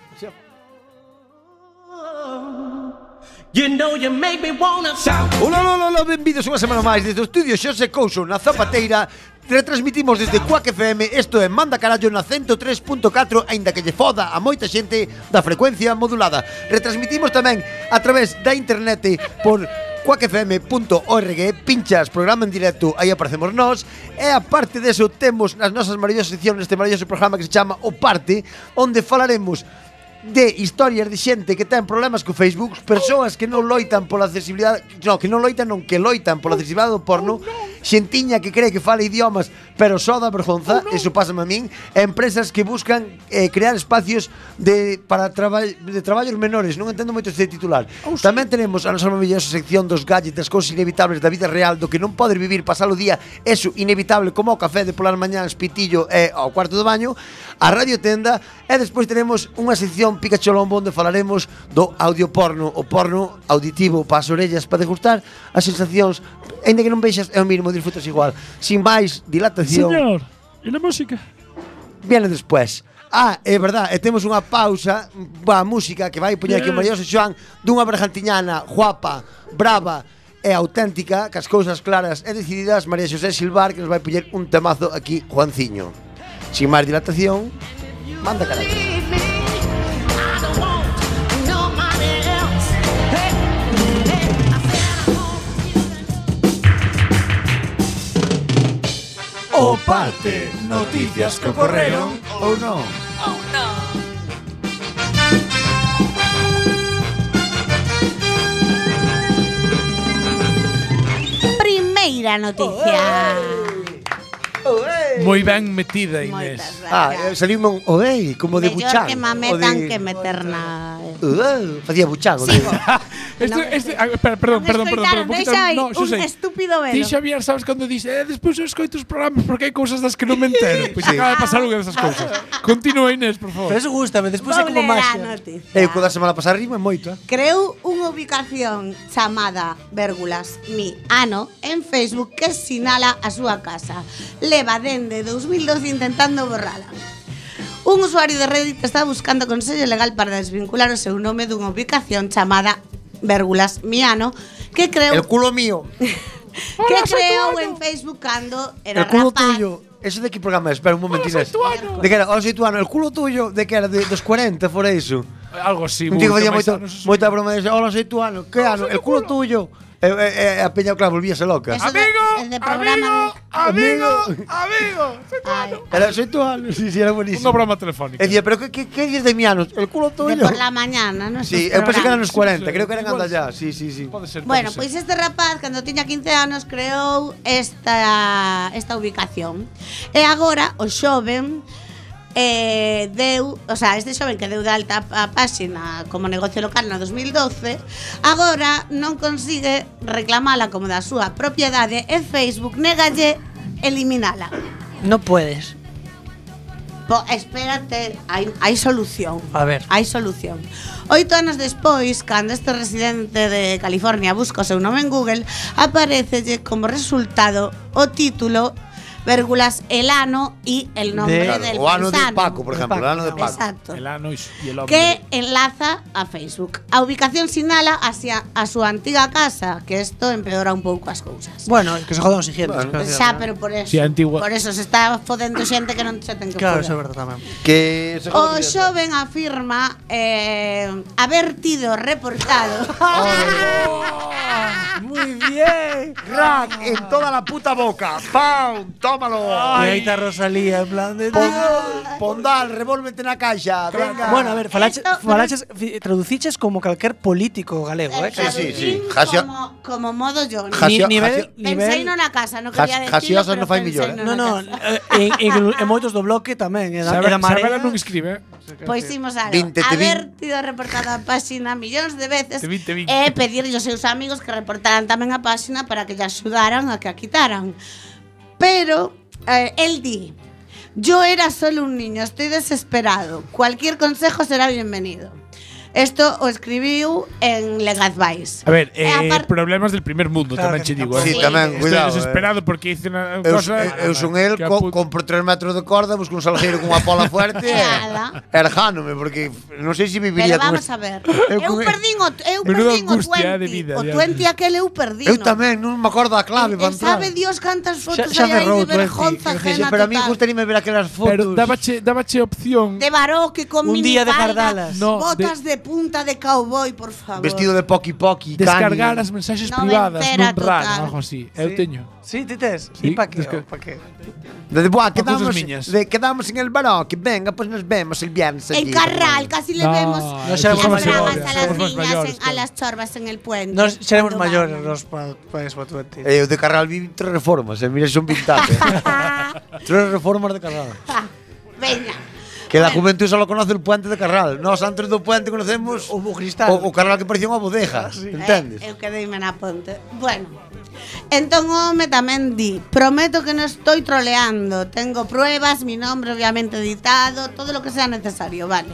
Speaker 9: You know you make me wanna shout.
Speaker 4: Ola, ola, ola, benvidos unha semana máis desde o estudio Xose Couso na Zapateira Retransmitimos desde Quack FM Isto é Manda Carallo na 103.4 Ainda que lle foda a moita xente da frecuencia modulada Retransmitimos tamén a través da internet por quackfm.org Pinchas, programa en directo, aí aparecemos nós E aparte deso temos nas nosas maravillosas seccións Neste maravilloso programa que se chama O Parte Onde falaremos de historias de xente que ten problemas co Facebook, persoas que non loitan pola accesibilidade, no, que non loitan, non que loitan pola accesibilidade do porno, xentiña que cree que fala idiomas, pero só da vergonza, eso pásame a min, e empresas que buscan eh, crear espacios de para traba, de traballos menores, non entendo moito este titular. Tamén tenemos a nosa maravillosa sección dos gadgets, das cousas inevitables da vida real, do que non podes vivir, pasar o día, eso inevitable como o café de polas mañáns, pitillo e ao cuarto do baño, a radio tenda e despois teremos unha sección Pikachu Lombo onde falaremos do audio porno, o porno auditivo para as orellas para degustar as sensacións, aínda que non vexas é o mínimo, disfrutas igual. Sin máis dilatación,
Speaker 7: Señor, e la música?
Speaker 4: viene despois. Ah, é verdad, e temos unha pausa va música que vai poñer aquí o maravilloso Xoan dunha bergantiñana guapa, brava e auténtica, cas cousas claras e decididas, María Xosé Silvar, que nos vai poñer un temazo aquí, Juanciño. Sin máis dilatación, manda carallo.
Speaker 2: O parte, noticias que ocorreron ou non.
Speaker 8: Primeira noticia.
Speaker 7: Moi ben metida, Inés.
Speaker 8: Moitas
Speaker 4: Ah, eh,
Speaker 8: gracias.
Speaker 4: salimos un odei, como de
Speaker 8: Mellor
Speaker 4: buchán.
Speaker 8: que me
Speaker 4: o
Speaker 8: metan
Speaker 4: de-
Speaker 8: que meter na...
Speaker 4: Odei, facía buchán. o de-
Speaker 8: Sigo.
Speaker 7: Este,
Speaker 8: Non,
Speaker 7: este, ah, per- perdón, perdón, perdón,
Speaker 8: Escoitaron,
Speaker 7: perdón, un poquito,
Speaker 8: deixa aí
Speaker 7: no,
Speaker 8: un
Speaker 7: Xosé.
Speaker 8: estúpido
Speaker 7: Ti,
Speaker 8: velo.
Speaker 7: Xavier, sabes cando dis eh, despois eu escoito os programas porque hai cousas das que non me entero Pois
Speaker 4: Sí.
Speaker 7: acaba de pasar unha desas cousas Continúa, Inés, por favor
Speaker 6: Pero eso gusta, despois é
Speaker 8: Vou
Speaker 6: como
Speaker 8: ler a
Speaker 6: máxia.
Speaker 8: noticia.
Speaker 4: Eu, co da semana pasada rima é moito, eh?
Speaker 8: Creou unha ubicación chamada Vérgulas Mi Ano en Facebook que sinala a súa casa. Leva dende 2012 intentando borrala. Un usuario de Reddit está buscando consello legal para desvincular o seu nome dunha ubicación chamada Vérgulas Mi Ano que creou
Speaker 4: El culo mío,
Speaker 8: que creou en Facebook cando era
Speaker 4: el culo
Speaker 8: rapaz.
Speaker 4: tuyo. Eso de que programa es? Espera un momento, Inés. De que era, hola, soy tuano. El culo tuyo, de que era, de, dos 40, fora iso.
Speaker 7: Algo así,
Speaker 4: Un tío que
Speaker 7: moito
Speaker 4: facía
Speaker 7: máis
Speaker 4: moito,
Speaker 7: anos, eso sí.
Speaker 4: moita broma de hola, soy tuano. Que ano? El culo tuyo. E, e, e a peña, claro, volvíase loca.
Speaker 8: Eso de-
Speaker 7: Amigo,
Speaker 8: el de
Speaker 7: amigo,
Speaker 8: programa
Speaker 7: amigo,
Speaker 4: Amigo.
Speaker 7: amigo Soy tu ano.
Speaker 8: Ay,
Speaker 4: Era, soy tuano. (laughs) Sí, sí, era buenísimo.
Speaker 7: Unha broma telefónica
Speaker 4: E dicía, pero que, que, que dices de mi ano? El culo
Speaker 8: de
Speaker 4: tuyo.
Speaker 8: por la mañana, non
Speaker 4: Sí, eu
Speaker 8: Esos
Speaker 4: pensé que eran os
Speaker 8: programas.
Speaker 4: 40,
Speaker 7: Sí, sí,
Speaker 4: creo que eran
Speaker 7: igual
Speaker 4: anda ya. Sí, sí, sí.
Speaker 7: Pode ser, pode
Speaker 8: Bueno,
Speaker 7: ser.
Speaker 8: pois este rapaz cando tiña 15 anos creou esta esta ubicación. E agora o xoven eh, deu, o sea, este xoven que deu de alta a páxina como negocio local no 2012, agora non consigue reclamala como da súa propiedade e Facebook négalle eliminala.
Speaker 6: No puedes.
Speaker 8: Po, espérate, hai, hai solución.
Speaker 6: A ver.
Speaker 8: Hai solución. Oito anos despois, cando este residente de California busca o seu nome en Google, aparecelle como resultado o título, vérgulas, el ano e el nombre
Speaker 4: Claro,
Speaker 8: del
Speaker 4: o ano de
Speaker 8: paisano.
Speaker 4: Paco, por
Speaker 6: De
Speaker 4: ejemplo, el
Speaker 6: Paco,
Speaker 4: ano de
Speaker 6: no.
Speaker 4: Paco.
Speaker 8: Exacto.
Speaker 7: El ano e el hombre
Speaker 8: que enlaza a Facebook. A ubicación sinala hacia a súa antiga casa, que isto empeora un pouco as cousas.
Speaker 6: Bueno, que se jodan os siguientes.
Speaker 4: Bueno.
Speaker 6: Bueno,
Speaker 8: Xa, pero por eso.
Speaker 7: Sí, a antigua-
Speaker 8: Por eso se está fodendo xente que non se ten que
Speaker 6: Claro,
Speaker 8: foder.
Speaker 6: eso é verdade tamén.
Speaker 4: Que se
Speaker 8: O xoven afirma eh, haber tido
Speaker 4: (laughs)
Speaker 8: reportado
Speaker 4: Oh,
Speaker 6: Muy
Speaker 8: (laughs)
Speaker 6: bien.
Speaker 4: Crack en toda la puta boca. ¡Pam! ¡Tómalo!
Speaker 6: E aí está Rosalía en plan de
Speaker 4: Pondal, revólvete na caixa. Venga.
Speaker 6: Bueno, a ver, falaches,
Speaker 8: Esto-
Speaker 6: falaches fi- traduciches como calquer político galego,
Speaker 8: (laughs)
Speaker 6: eh?
Speaker 4: oh, Sí, sí, sí.
Speaker 8: Traducín
Speaker 4: Jasio-
Speaker 8: como, como modo yo.
Speaker 4: Ja- Jasio-
Speaker 6: Ni, nivel,
Speaker 4: jasio-
Speaker 8: Pensei
Speaker 6: nivel
Speaker 8: non na casa, non
Speaker 4: Jas-
Speaker 8: quería decirlo,
Speaker 4: jasiosos
Speaker 8: pero
Speaker 4: non fai
Speaker 8: pensei
Speaker 4: millor, eh.
Speaker 8: non
Speaker 6: No, no,
Speaker 8: na casa.
Speaker 6: eh, en, en, en moitos do bloque tamén, e da, e
Speaker 7: Sabe-
Speaker 6: da marea.
Speaker 7: Sabela non escribe, eh
Speaker 8: Pois imos Pues algo.
Speaker 4: Vinte, te vin.
Speaker 8: Haber tido reportado a páxina millóns de veces
Speaker 7: Te
Speaker 8: Eh,
Speaker 7: vin, te vin.
Speaker 8: e pedirlle aos seus amigos pois que reportaran tamén a páxina para que lle axudaran a que a quitaran. Pero eh, el di, yo era solo un niño, estoy desesperado. Cualquier consejo será bienvenido. Esto o escribiu en Legazbais.
Speaker 7: A ver, eh,
Speaker 8: E apar-
Speaker 7: problemas del primer mundo,
Speaker 6: Claro
Speaker 7: tamén
Speaker 6: que
Speaker 7: che digo.
Speaker 4: Sí,
Speaker 7: eh.
Speaker 8: Sí.
Speaker 4: tamén,
Speaker 7: Estoy
Speaker 4: cuidado. eh.
Speaker 7: desesperado porque hice unha
Speaker 4: Eu,
Speaker 7: cosa...
Speaker 4: eu, eu son el,
Speaker 7: que
Speaker 4: co,
Speaker 7: apu-
Speaker 4: compro 3 metros de corda, busco un salgueiro cunha pola fuerte e
Speaker 8: Nada.
Speaker 4: erjánome, porque non sei se viviría con
Speaker 8: Pero vamos
Speaker 4: este-
Speaker 8: a ver.
Speaker 4: Eu
Speaker 8: Eu,
Speaker 4: con-
Speaker 8: perdín o eu
Speaker 7: Menuda
Speaker 8: perdín o
Speaker 7: angustia
Speaker 8: 20,
Speaker 7: de vida,
Speaker 8: o
Speaker 7: ya.
Speaker 8: 20 aquel eu perdín.
Speaker 4: Eu tamén, non me acordo a clave para entrar.
Speaker 8: Eh, sabe Dios cantas fotos
Speaker 6: xa
Speaker 8: hai aí
Speaker 6: cerrou
Speaker 8: de
Speaker 6: 20, eh,
Speaker 8: vergonza
Speaker 6: que
Speaker 8: ajena
Speaker 4: Pero a mí
Speaker 8: total.
Speaker 6: este
Speaker 4: gustaríame ver aquelas fotos.
Speaker 7: Pero dabache, dabache opción...
Speaker 8: De baroque con
Speaker 6: Un día de
Speaker 8: minifalda,
Speaker 6: gardalas.
Speaker 7: No,
Speaker 8: botas de... punta de cowboy, por favor.
Speaker 4: Vestido de poqui poqui,
Speaker 7: Descargar as mensaxes
Speaker 8: No me
Speaker 7: privadas nun
Speaker 8: entera
Speaker 7: RAR,
Speaker 8: total.
Speaker 7: algo así. Eu teño.
Speaker 6: Sí, tites. ¿Y
Speaker 7: Sí,
Speaker 6: para qué?
Speaker 7: es que-
Speaker 6: ¿Pa qué?
Speaker 4: De, buah,
Speaker 7: Pa cousas
Speaker 4: quedamos,
Speaker 7: miñas.
Speaker 4: de, quedamos en el baroque, venga, pois pues nos vemos el viernes allí.
Speaker 8: En Carral, casi le
Speaker 7: No,
Speaker 8: vemos
Speaker 7: no
Speaker 8: las
Speaker 6: seremos
Speaker 8: bragas
Speaker 6: mayores,
Speaker 8: a
Speaker 7: somos
Speaker 8: las
Speaker 7: más
Speaker 8: niñas,
Speaker 7: mayores,
Speaker 8: en- a
Speaker 7: claro.
Speaker 8: las chorbas en el puente.
Speaker 6: Nos seremos
Speaker 8: Cuando
Speaker 6: mayores
Speaker 8: vayan.
Speaker 6: los para eso, para
Speaker 4: Eh, eu de Carral vi tres reformas, eh, mira, son vintage.
Speaker 8: (laughs)
Speaker 4: tres reformas de Carral.
Speaker 8: Ah, Venga.
Speaker 4: Que la juventud solo conoce el puente de Carral. Nos antes do puente conocemos
Speaker 6: O cristal.
Speaker 4: o, o Carral que parecía unha bodeja, entendes?
Speaker 8: Eh, eu quedeime na ponte. Bueno, entón o home tamén di Prometo que non estou troleando Tengo pruebas, mi nombre obviamente editado Todo lo que sea necesario, vale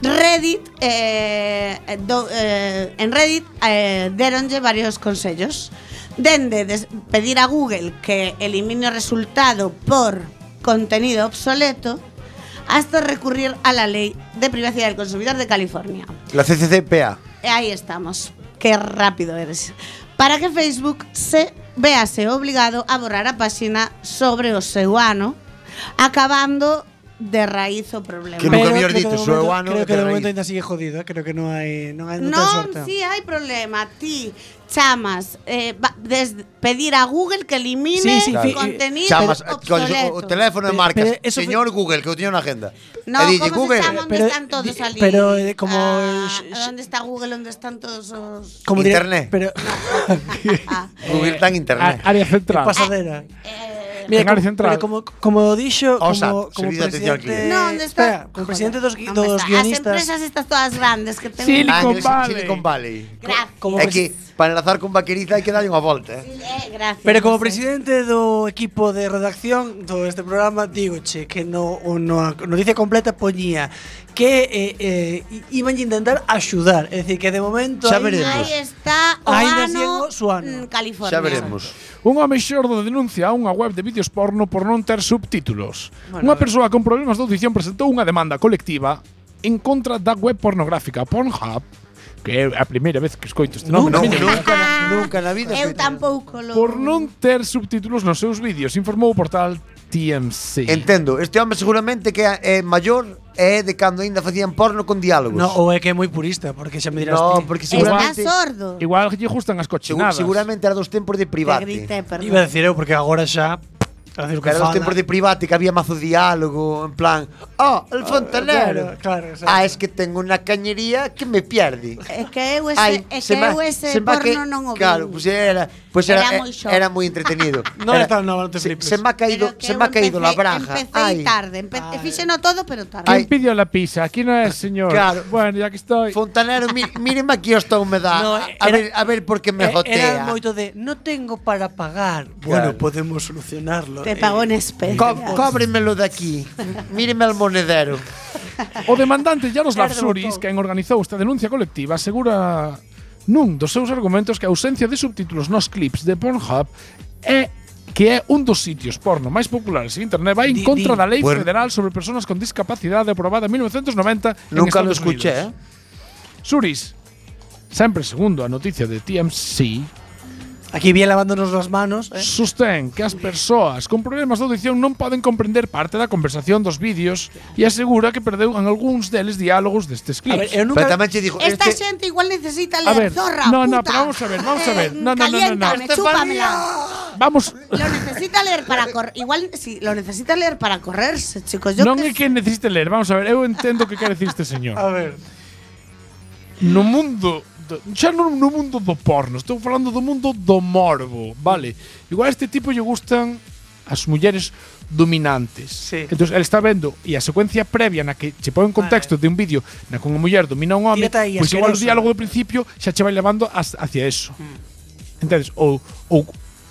Speaker 8: Reddit eh, do, eh, En Reddit eh, deronlle varios consellos Dende des- pedir a Google que elimine o resultado por contenido obsoleto hasta recurrir a la ley de privacidad del consumidor de California.
Speaker 4: La CCCPA.
Speaker 8: E Ahí estamos. Qué rápido eres. Para que Facebook se vease obrigado a borrar a páxina sobre o seu ano, acabando de raíz o problema.
Speaker 4: Que nunca me has dicho, soy guano
Speaker 6: Creo
Speaker 4: de
Speaker 6: que de momento
Speaker 4: raíz.
Speaker 6: ainda sigue jodido, eh? creo que no hay no hay no ten
Speaker 8: Non,
Speaker 6: sorteo.
Speaker 8: si hai problema, ti chamas, eh, va- des- pedir a Google que elimine
Speaker 6: Sí, sí,
Speaker 8: o
Speaker 6: fi-
Speaker 8: contenido
Speaker 4: Chamas, colles
Speaker 8: obsoleto.
Speaker 4: o, o teléfono e
Speaker 6: Pero-
Speaker 4: marcas,
Speaker 6: pero eso
Speaker 4: señor Google, que eu teño na agenda. e
Speaker 8: No,
Speaker 4: dille,
Speaker 8: como
Speaker 4: Google,
Speaker 8: se chama onde
Speaker 6: Pero,
Speaker 8: están todos
Speaker 6: di-
Speaker 8: ali?
Speaker 6: pero, eh, como-
Speaker 8: Ah, onde está Google, onde están todos os...
Speaker 6: Como diré-
Speaker 4: Internet.
Speaker 6: pero
Speaker 8: Ah,
Speaker 4: Google está en internet.
Speaker 7: A- Área
Speaker 4: Ah.
Speaker 7: central.
Speaker 6: pasadera.
Speaker 8: (laughs) eh,
Speaker 6: Mira,
Speaker 7: Canal
Speaker 6: como,
Speaker 7: Central.
Speaker 6: pero como como dixo, como
Speaker 4: OSAT,
Speaker 6: como
Speaker 4: Servicio de Atención al
Speaker 6: presidente,
Speaker 7: Eh,
Speaker 4: Cliente.
Speaker 8: No, ¿dónde está?
Speaker 6: Espera, como
Speaker 8: Joder,
Speaker 6: presidente dos, gui-
Speaker 8: ¿dónde
Speaker 6: dos
Speaker 8: está? Las
Speaker 6: guionistas.
Speaker 8: empresas estas todas grandes que tengo.
Speaker 7: Silicon
Speaker 4: Ángel,
Speaker 7: Valley.
Speaker 4: Silicon Valley.
Speaker 8: Gracias.
Speaker 6: como
Speaker 4: É
Speaker 6: pres-
Speaker 4: que para enlazar con vaqueriza hai que darlle unha volta, eh.
Speaker 8: Eh, gracias.
Speaker 6: Pero como
Speaker 8: no sé.
Speaker 6: presidente do equipo de redacción do este programa digo che que no, o no a noticia completa poñía que eh, eh, i- iban a intentar axudar, é dicir que de momento
Speaker 4: Xa
Speaker 6: aí-
Speaker 4: veremos.
Speaker 8: Ahí está
Speaker 6: Ainda
Speaker 8: Oano,
Speaker 6: sigo su ano.
Speaker 8: mm, California.
Speaker 4: Xa veremos.
Speaker 7: Un home xordo denuncia a unha web de vídeos porno por non ter subtítulos.
Speaker 6: Bueno, a
Speaker 7: unha
Speaker 6: ver.
Speaker 7: persoa con problemas de audición presentou unha demanda colectiva en contra da web pornográfica Pornhub, que é a primeira vez que escoito este
Speaker 6: Non,
Speaker 7: nome. na
Speaker 4: Non,
Speaker 7: miña vida.
Speaker 4: nunca, na- nunca na vida.
Speaker 8: Eu tampouco lo...
Speaker 7: Por non ter subtítulos nos seus vídeos, informou o portal TMC.
Speaker 4: Entendo, este home seguramente que é é maior e é de cando aínda facían porno con diálogos.
Speaker 6: No, ou é que é moi purista, Pues- porque xa me eh, dirás
Speaker 4: no
Speaker 6: ti.
Speaker 4: porque
Speaker 8: Está
Speaker 4: seguramente
Speaker 8: sordo.
Speaker 7: Igual lle gustan as
Speaker 4: segu-
Speaker 7: cochinadas.
Speaker 4: seguramente era dos tempos de
Speaker 8: Te
Speaker 4: private.
Speaker 8: grité, perdón.
Speaker 6: Iba a decir eu porque agora xa a decir o que
Speaker 4: Era dos
Speaker 6: fala.
Speaker 4: tempos de private que había mazo diálogo, en plan, "Oh, el fontanero."
Speaker 6: claro, claro, exacto.
Speaker 4: ah, es que tengo una cañería que me pierde.
Speaker 8: É que eu ese,
Speaker 4: Ai,
Speaker 8: é Pues, que
Speaker 4: se me-
Speaker 8: eu ese
Speaker 4: se me
Speaker 8: porno
Speaker 4: que-
Speaker 8: non o vi.
Speaker 4: Claro, pues era, pues era,
Speaker 8: Era
Speaker 4: era,
Speaker 8: moi
Speaker 4: muy,
Speaker 8: xordo.
Speaker 4: entretenido.
Speaker 6: No
Speaker 4: Era-
Speaker 6: es tan nova, no te
Speaker 4: se,
Speaker 6: flipes.
Speaker 4: se me ha caído,
Speaker 8: Pero que
Speaker 4: se
Speaker 8: eu
Speaker 4: me ha caído la
Speaker 8: empecé-
Speaker 4: braja.
Speaker 8: Empecé
Speaker 4: Ay,
Speaker 8: tarde. Empe- Fíxeno todo, pero tarde.
Speaker 4: Ai.
Speaker 7: ¿Quién pidió la pizza? Aquí no es, señor.
Speaker 4: Claro.
Speaker 7: Bueno, ya que estoy.
Speaker 4: Fontanero, mí- míreme aquí esta humedad.
Speaker 6: No,
Speaker 4: a, a
Speaker 6: era-
Speaker 4: ver, a ver por qué me
Speaker 6: Eh, Era
Speaker 4: jotea.
Speaker 6: moito de no tengo para pagar. Bueno, podemos solucionarlo.
Speaker 8: Te
Speaker 6: Eh,
Speaker 8: pagó en especie.
Speaker 4: Co- cóbremelo de aquí. Míreme al monedero.
Speaker 7: O demandante Jaroslav
Speaker 6: Perde o
Speaker 7: Suris,
Speaker 6: botón.
Speaker 7: quen organizou esta denuncia colectiva, asegura nun dos seus argumentos que a ausencia de subtítulos nos clips de Pornhub é que é un dos sitios porno máis populares en internet vai
Speaker 6: Di-
Speaker 7: en contra
Speaker 6: di.
Speaker 7: da lei
Speaker 4: Bueno.
Speaker 7: federal sobre persoas con discapacidade aprobada en 1990 en
Speaker 4: Nunca lo
Speaker 7: Estados
Speaker 4: escuché, eh.
Speaker 7: Unidos. Suris, sempre segundo a noticia de TMC,
Speaker 6: Aquí bien lavándonos las manos, eh.
Speaker 7: sostén que as persoas con problemas de audición non poden comprender parte da conversación dos vídeos e asegura que perdeu en algúns deles diálogos destes
Speaker 6: A ver,
Speaker 7: clips.
Speaker 6: eu nunca
Speaker 4: Pero tamén che digo,
Speaker 8: Esta
Speaker 4: este-
Speaker 8: xente igual necesita
Speaker 7: A
Speaker 8: leer
Speaker 7: ver,
Speaker 8: zorra,
Speaker 7: no, no,
Speaker 8: puta. Eh,
Speaker 7: pero vamos a ver, vamos a ver. No, no, no, no, no.
Speaker 8: Caliéntame, chúpamela.
Speaker 7: Vamos,
Speaker 8: Lo necesita leer para correr. Igual, si lo necesita leer para correrse, chicos. Yo
Speaker 7: non
Speaker 8: que
Speaker 7: é que necesite ler, vamos a ver, eu entendo que quer dicir este
Speaker 6: A
Speaker 7: señor.
Speaker 6: ver.
Speaker 7: No mundo do, xa non no mundo do porno, estou falando do mundo do morbo, vale? Igual a este tipo lle gustan as mulleres dominantes.
Speaker 6: Sí.
Speaker 7: Entón, el está vendo e a secuencia previa na que che pon en contexto de un vídeo na que unha muller domina un home,
Speaker 6: Tírate aí,
Speaker 7: pois igual o
Speaker 6: asqueroso.
Speaker 7: diálogo do principio xa che vai levando as- hacia eso.
Speaker 6: Mm.
Speaker 7: Entendes? Ou, ou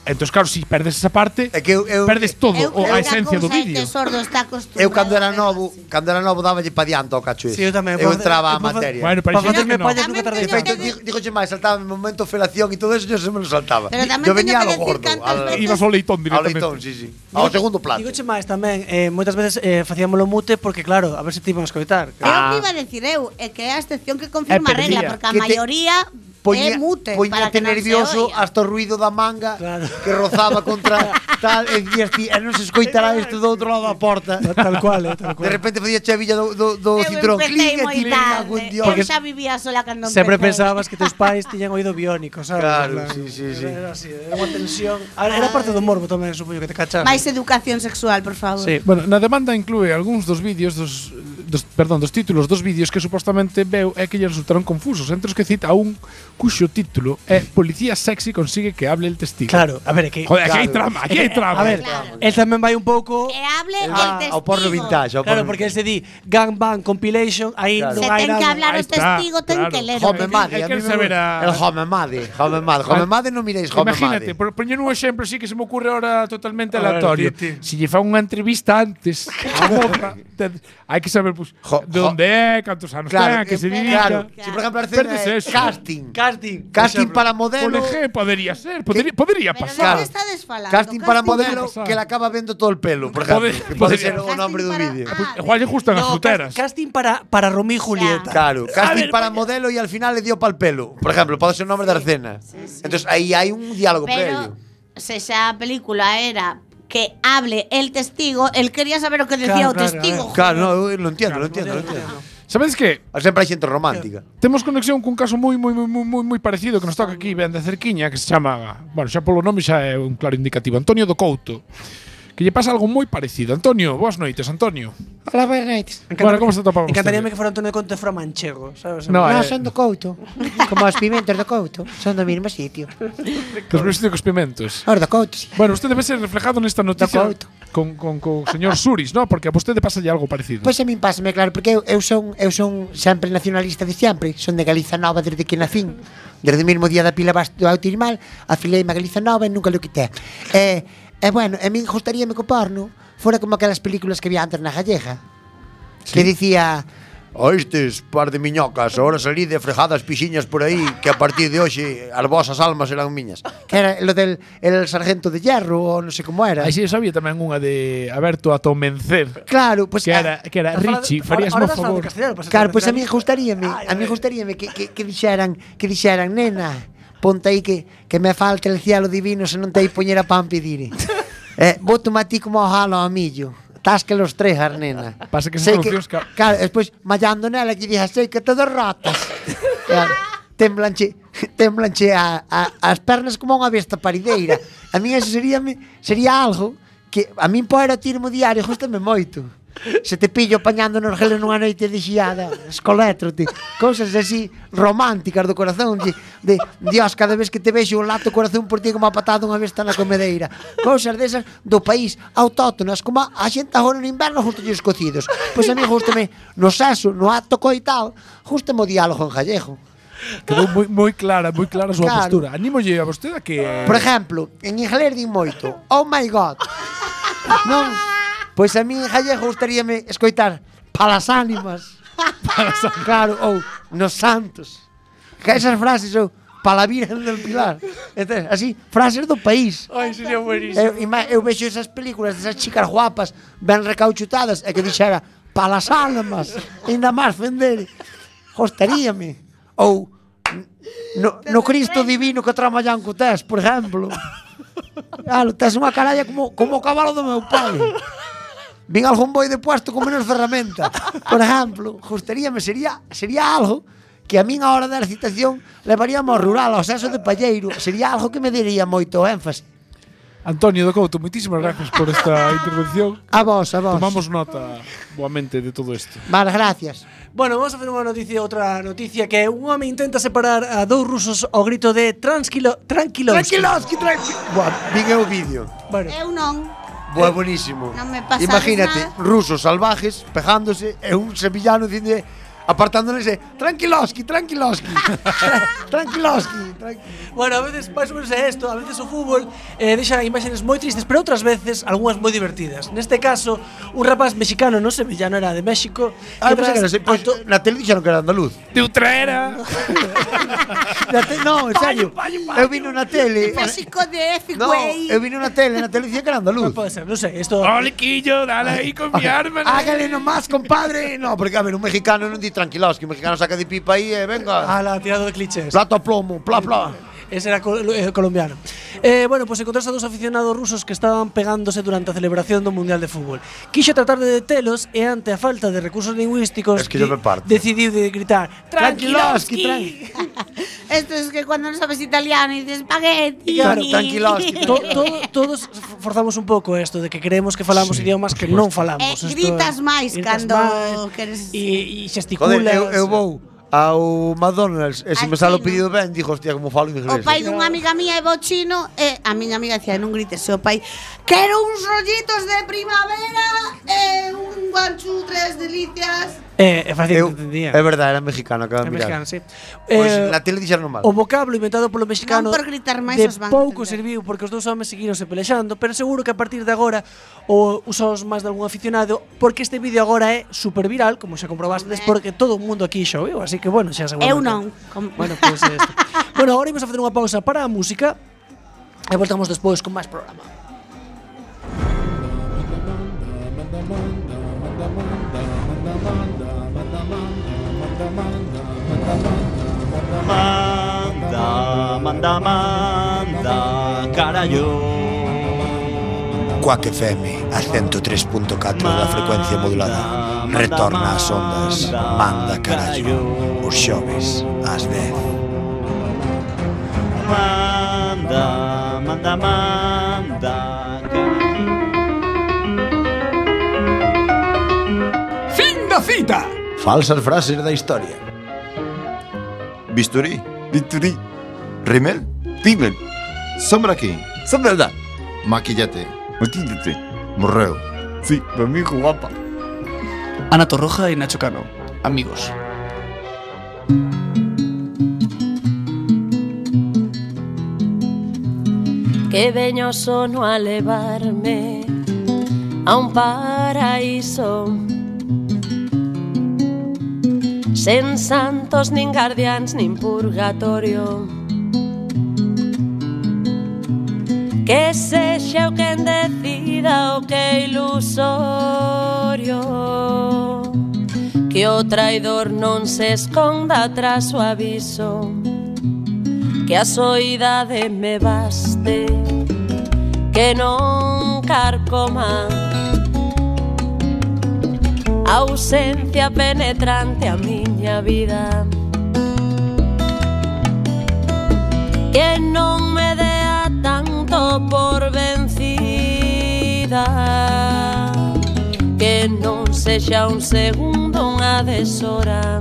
Speaker 7: Entón, claro, se si perdes esa parte,
Speaker 10: É que eu- eu-
Speaker 7: perdes todo,
Speaker 8: Eu
Speaker 7: ou
Speaker 8: creo
Speaker 7: a
Speaker 8: que
Speaker 7: esencia do
Speaker 8: cousa é que
Speaker 7: vídeo.
Speaker 8: sordo está acostumbrado.
Speaker 10: Eu cando era
Speaker 8: a
Speaker 10: novo,
Speaker 8: verlas.
Speaker 10: cando era novo dáballe pa diante ao cacho ese.
Speaker 6: Sí, eu tamén.
Speaker 10: Eu
Speaker 6: Pode-
Speaker 10: entraba a
Speaker 6: pode-
Speaker 10: materia.
Speaker 7: Bueno,
Speaker 6: Para
Speaker 7: parece que
Speaker 6: facerme
Speaker 7: no.
Speaker 6: pollas nunca
Speaker 8: Tamén
Speaker 6: tardei
Speaker 8: teño
Speaker 6: tanto.
Speaker 10: Feito, di- dígoche máis, saltaba mi momento felación e todo eso, yo se me lo saltaba.
Speaker 8: Pero
Speaker 10: yo
Speaker 8: tamén teño
Speaker 10: venía a lo
Speaker 8: que decir
Speaker 10: gordo,
Speaker 8: cantas
Speaker 10: al,
Speaker 8: veces-
Speaker 7: Ibas ao leitón
Speaker 10: ao
Speaker 7: directamente.
Speaker 10: leitón, sí, sí. Ao segundo plato.
Speaker 6: Digoche máis tamén, eh, moitas veces eh, facíamos mute porque claro, a ver se te iban a escoitar.
Speaker 8: É o que iba a decir eu, é que é a excepción que
Speaker 7: É,
Speaker 8: confirma a
Speaker 7: pero
Speaker 8: regla,
Speaker 7: mira,
Speaker 8: porque
Speaker 10: que
Speaker 8: a
Speaker 10: te-
Speaker 8: maioría é
Speaker 10: Poñía-
Speaker 8: mute para
Speaker 10: poñíate
Speaker 8: que non se
Speaker 10: nervioso
Speaker 8: oia.
Speaker 10: hasta o ruido da manga
Speaker 6: Claro.
Speaker 10: que rozaba contra tal e dicías ti, e non se escoitará isto do outro lado da porta.
Speaker 6: Tal- Tal cual, eh, tal
Speaker 10: De
Speaker 6: cual.
Speaker 10: repente facía chavilla do, do, do
Speaker 8: Eu
Speaker 10: cinturón.
Speaker 8: empecé
Speaker 10: Clic, e
Speaker 8: moi
Speaker 10: ti,
Speaker 8: tarde.
Speaker 10: algún
Speaker 8: Eu
Speaker 10: dios.
Speaker 8: xa vivía sola cando
Speaker 6: Sempre
Speaker 8: empecé.
Speaker 6: pensabas que teus pais tiñan oído biónico, sabes?
Speaker 10: Claro,
Speaker 6: En plan,
Speaker 10: sí, sí, sí.
Speaker 6: Era así, era unha tensión. Era era parte do morbo tamén, supoño que te cachas.
Speaker 8: Máis educación sexual, por favor.
Speaker 6: Sí.
Speaker 7: Eh, Bueno, na demanda inclúe algúns dos vídeos dos, dos perdón, dos títulos dos vídeos que supostamente veu e que lle resultaron confusos, entre os que cita un cuxo título é Policía sexy consigue que hable el testigo.
Speaker 6: Claro, a ver, é que
Speaker 7: Joder, aquí hai trama, aquí hai
Speaker 6: A
Speaker 7: trama.
Speaker 6: ver,
Speaker 8: Claro. Eh.
Speaker 6: él tamén vai un pouco
Speaker 8: Que hable
Speaker 10: Ah,
Speaker 8: el testigo.
Speaker 10: ao porno vintage, ao porno.
Speaker 6: Claro, porque él se di Gangbang Compilation, aí
Speaker 10: Claro.
Speaker 6: non
Speaker 8: Se
Speaker 6: hai
Speaker 8: ten
Speaker 6: nada.
Speaker 8: que hablar
Speaker 7: Ahí
Speaker 8: o
Speaker 7: está,
Speaker 8: testigo, ten
Speaker 7: claro.
Speaker 8: que ler.
Speaker 10: Home
Speaker 7: Hay
Speaker 10: Made, a
Speaker 7: que
Speaker 10: mí me
Speaker 7: saber
Speaker 10: gusta.
Speaker 7: a-
Speaker 10: El Home Made, Home Made. Home Made non miréis Home
Speaker 7: Imagínate,
Speaker 10: Made.
Speaker 7: por poñer un exemplo así que se me ocurre ahora totalmente
Speaker 6: A ver,
Speaker 7: aleatorio.
Speaker 6: ti- ti.
Speaker 7: Se lle fa unha entrevista
Speaker 6: (laughs)
Speaker 7: antes, a moza, te- hai que saber pues,
Speaker 10: Jo-
Speaker 7: de
Speaker 10: jo-
Speaker 7: onde é, cantos anos
Speaker 10: Claro,
Speaker 7: ten, que
Speaker 10: eh,
Speaker 7: se dedica.
Speaker 10: claro. Si por exemplo
Speaker 7: Perdes
Speaker 10: hacer eh,
Speaker 7: eso.
Speaker 10: casting.
Speaker 6: Casting. por
Speaker 10: Casting
Speaker 6: exemplo.
Speaker 10: para
Speaker 7: Por
Speaker 10: modelo.
Speaker 7: ejemplo, podría ser, podría, podría
Speaker 8: Pero
Speaker 7: pasar.
Speaker 8: non está desfalando.
Speaker 10: Casting para modelo
Speaker 7: pasar.
Speaker 10: que le acaba vendo todo el pelo, por
Speaker 7: Pode-
Speaker 10: ejemplo. Que pode
Speaker 7: podría-
Speaker 10: ser o nombre do vídeo.
Speaker 8: Ah,
Speaker 7: Igual lle gustan as
Speaker 6: No,
Speaker 7: fruteras.
Speaker 6: cas- casting para para Romí y Julieta.
Speaker 10: Claro, casting
Speaker 6: ver,
Speaker 10: para modelo y al final le dio pal pelo. Por ejemplo, pode ser o nombre da cena. Entonces ahí hay un diálogo
Speaker 8: Pero
Speaker 10: previo.
Speaker 8: se xa a película era que hable el testigo, él quería saber o que
Speaker 6: Claro,
Speaker 8: decía o
Speaker 6: claro,
Speaker 8: testigo.
Speaker 6: eh.
Speaker 10: Claro, no, eu lo entiendo, lo entiendo, lo entiendo.
Speaker 7: Sabedes que
Speaker 10: Sempre hai xente romántica.
Speaker 7: Temos conexión cun caso moi moi moi moi moi moi parecido que nos toca aquí ben de cerquiña que se chama, bueno, xa polo nome xa é un claro indicativo, Antonio do Couto. Que lle pasa algo moi parecido. Antonio, boas noites, Antonio.
Speaker 4: Hola, boas noites.
Speaker 7: Bueno, como se topa vostede?
Speaker 6: Encantaríame que fuera Antonio Conte fuera manchego, ¿sabes?
Speaker 7: No,
Speaker 4: Non,
Speaker 7: eh,
Speaker 4: son do Couto. Como os pimentos do Couto. Son do mesmo sitio.
Speaker 7: Dos meus tíos pimentos.
Speaker 4: Os do Couto, sí.
Speaker 7: Bueno, usted debe ser reflejado nesta noticia
Speaker 4: Do Couto.
Speaker 7: con, con, con o señor Suris, ¿no? Porque a vostede pasa algo parecido.
Speaker 10: Mm.
Speaker 4: Pois a min pásame, claro, porque eu, eu son eu son sempre nacionalista de sempre, son de Galiza Nova desde que nacín. Desde o mesmo día da pila bas- do Autirimal, afiliei-me a Galiza Nova e nunca lo quité. E, e bueno, a min gustaríame que o porno fora como aquelas películas que había antes na gallega. Sí. Que dicía,
Speaker 10: Oístes, "Oh, par de miñocas, ahora salí de frejadas pixiñas por aí que a partir de hoxe as vosas almas serán miñas.
Speaker 4: que era lo del el sargento de hierro ou non sei como era.
Speaker 7: Aí si sabía tamén unha de Aberto a Tomencer,
Speaker 4: Claro, pois eh,
Speaker 7: que era que era Richie, farías mo favor.
Speaker 6: pues
Speaker 4: Claro, pois a mí gustaríame, a mí gustaríame que, que, que dixeran, que dixeran, nena, ponte aí que, que me falte el cielo divino se non te hai poñer a pan pedire. eh, boto a ti como ao jalo a millo. Tás que los tres, nena.
Speaker 7: Pasa que
Speaker 4: Sei
Speaker 7: esas solucións ca-
Speaker 4: Claro, despois, mallando nela, que dixas, sei que te derrotas. claro, (laughs) temblanche, temblanche a, a, as pernas como unha besta parideira. A mí eso sería, sería algo que a min poder a tirmo diario gustame moito. Se te pillo apañando no gelo nunha noite de xiada, escolétrote, cousas así románticas do corazón, de, de Dios, cada vez que te vexo un lato o corazón por ti como a patada unha besta na comedeira. Cousas desas do país autóctonas, como a xente agora no inverno justo os cocidos. Pois a mí gustame no sexo, no acto coital, gustame o diálogo en gallego.
Speaker 7: Quedou moi moi clara, moi clara a súa
Speaker 4: Claro.
Speaker 7: postura. Anímolle a vostede a que
Speaker 4: Por exemplo, en inglés din moito Oh my god Non? Pois a mí en gallego gustaríame escoitar Palas ánimas Claro, ou Nos santos Que esas frases ou Pala Virgen del Pilar Entón, Así, frases do país
Speaker 6: Ay, sería buenísimo.
Speaker 4: Eu, ima- eu vexo esas películas desas chicas guapas ben recauchutadas e que dixera palas almas, ainda máis fender. Gostaríame. Ou no, no Cristo divino que traballan co tes, por exemplo. Claro, tes unha caralla como, como o cabalo do meu pai. Vin algún boi de puesto con menos ferramenta. Por exemplo, gostaríame, sería, sería algo que a min a hora da recitación levaríamos ao rural, ao sexo de Palleiro. Sería algo que me diría moito énfase.
Speaker 7: Antonio do Couto, moitísimas gracias por (laughs) esta intervención.
Speaker 4: A vos, a vos.
Speaker 7: Tomamos nota boamente de todo isto.
Speaker 4: Vale, gracias.
Speaker 6: Bueno, vamos a hacer unha noticia, outra noticia que un home intenta separar a dous rusos ao grito de tranquilo, tranquilos.
Speaker 10: Tranquilos, que tranquilos. Buah, vin eu o vídeo.
Speaker 6: Bueno,
Speaker 8: Eu non.
Speaker 4: Bué, buenísimo.
Speaker 8: Non me pasades
Speaker 4: Imagínate,
Speaker 8: nada.
Speaker 4: rusos salvajes pegándose e un sevillano dicindo apartándoles e tranquiloski, (laughs) tranquiloski. tranquiloski, tranqui-".
Speaker 6: Bueno, a veces máis ou menos é isto, a veces o fútbol eh, deixa imaxes moi tristes, pero outras veces algunhas moi divertidas. Neste caso, un rapaz mexicano, non sevillano, era de México,
Speaker 4: Ah, pensei que era, se- pois,
Speaker 6: ato-
Speaker 4: na tele dixeron que era andaluz.
Speaker 7: De Utrera.
Speaker 4: Na te- no, en serio. Eu vino na tele.
Speaker 8: México de Efi,
Speaker 4: Eh, No, eh,
Speaker 8: güey.
Speaker 4: eu vino na tele, na tele dicía que era andaluz.
Speaker 6: non pode ser, non sei, isto
Speaker 4: Ah.
Speaker 7: Oliquillo, dale ahí con mi arma. ¿no?
Speaker 4: Hágale nomás, compadre. No, porque a ver, un mexicano non di tranquilos, que un mexicano saca de pipa aí e venga.
Speaker 6: ala tirado de clichés.
Speaker 4: Plato a plomo, pla pla.
Speaker 6: Ese era col- eh, colombiano. Eh, bueno, pues encontraste a dos aficionados rusos que estaban pegándose durante a celebración do Mundial de Fútbol. Quixo tratar de detelos e ante a falta de recursos lingüísticos
Speaker 4: Es que yo me
Speaker 6: di-
Speaker 4: parto.
Speaker 6: decidiu de gritar
Speaker 4: Tranquiloski,
Speaker 6: Tranquiloski.
Speaker 8: Esto es que cuando no sabes italiano y dices espagueti.
Speaker 4: Claro, tranquiloski,
Speaker 8: (laughs)
Speaker 6: To- todo- todos forzamos un pouco esto de que creemos que falamos idiomas que non falamos.
Speaker 8: Eh,
Speaker 6: Esto é-
Speaker 8: gritas máis
Speaker 6: gritas
Speaker 8: cando
Speaker 6: máis
Speaker 8: queres-
Speaker 6: e, e xesticulas.
Speaker 4: Joder, eu, eu vou ao McDonald's e se
Speaker 8: Al
Speaker 4: me sale o
Speaker 8: chino.
Speaker 4: pedido ben, dixo, hostia, como falo
Speaker 8: O
Speaker 4: inglés.
Speaker 8: pai dunha amiga mía é bo chino e a miña amiga decía, non grites, e o pai quero uns rollitos de primavera e un guanchu tres delicias.
Speaker 6: Eh, é fácil
Speaker 4: Eu,
Speaker 6: que entendía.
Speaker 4: é verdade, era mexicano, acaba
Speaker 6: É
Speaker 4: de
Speaker 6: mexicano,
Speaker 4: mirar.
Speaker 6: sí.
Speaker 4: Pois
Speaker 6: Eh,
Speaker 4: na tele dixeron mal.
Speaker 6: O vocablo inventado polo mexicano
Speaker 8: Non por gritar máis
Speaker 6: de
Speaker 8: os van
Speaker 6: pouco serviu
Speaker 8: entender.
Speaker 6: porque os dous homes seguironse pelexando, pero seguro que a partir de agora o usamos máis de algún aficionado porque este vídeo agora é super viral, como xa comprobastes,
Speaker 8: Hombre.
Speaker 6: porque todo o mundo aquí xa o viu, así que bueno, xa seguramente.
Speaker 8: Eu non. Com-
Speaker 6: Bueno, pois pues,
Speaker 8: (laughs)
Speaker 6: isto. bueno, agora imos a facer unha pausa para a música e voltamos despois con máis programa.
Speaker 2: Manda, manda, manda, carallo.
Speaker 1: Quack FM a 103.4 da frecuencia modulada Retorna as ondas Manda carallo Os xoves ás 10
Speaker 2: Manda, manda, manda, carallo.
Speaker 5: Fin da cita.
Speaker 1: Falsas frases da historia
Speaker 3: Bisturí, bisturí, rimel, rímel, sombra aquí, sombra allá, maquillate, maquillate, morreo. Sí, mi hijo guapa.
Speaker 11: Ana Torroja y Nacho Cano, amigos.
Speaker 9: Qué bello sono a elevarme a un paraíso sen santos nin guardians nin purgatorio que sexa o quen decida o que é ilusorio que o traidor non se esconda tras o aviso que a soidade me baste que non carcoma a ausencia penetrante a miña vida que non me dea tanto por vencida que non sexa un segundo unha deshora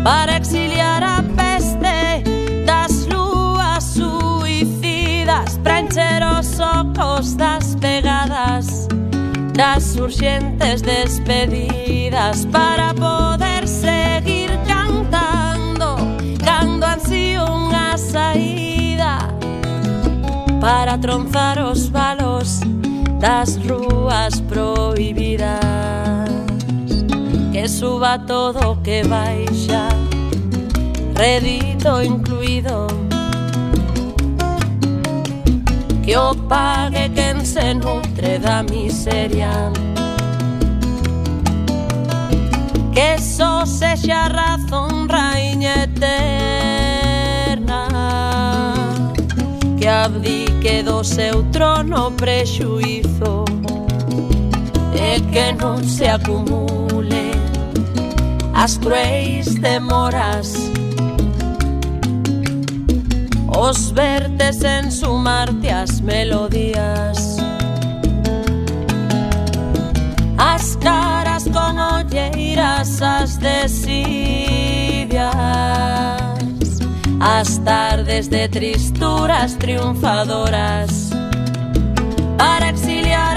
Speaker 9: para exiliar a peste das lúas suicidas, para encher os ocos das pegadas, das urxentes despedidas, para poder seguir cantando, cando así unha saída, para tronzar os balos das rúas prohibidas que suba todo o que baixa redito incluído que o pague quen se nutre da miseria que só sexa razón raíña eterna que abdique do seu trono prexuízo e que non se acumule as cruéis demoras os vertes en sumarte as melodías as caras con olleiras as desidias as tardes de tristuras triunfadoras para exiliar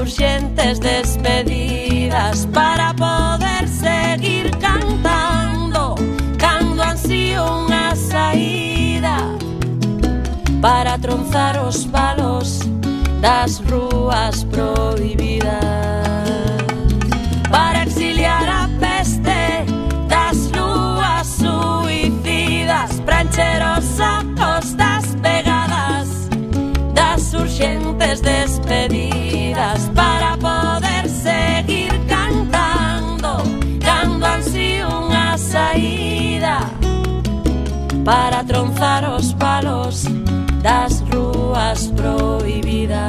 Speaker 9: urgentes despedidas para poder seguir cantando, cando ansío unha saída para tronzar os palos das rúas prohibidas para exiliar a peste das rúas suicidas prancheros a costas pegadas das urgentes despedidas para poder seguir cantando cando así unha saída para tronzar os palos das rúas prohibidas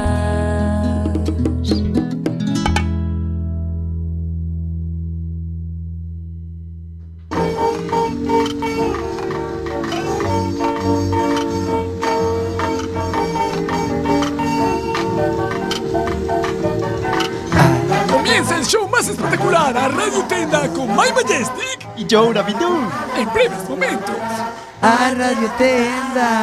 Speaker 12: Comienza el show más espectacular a Radio Tenda con My Majestic y Joe Rabidu. En breves momentos.
Speaker 13: A Radio Tenda.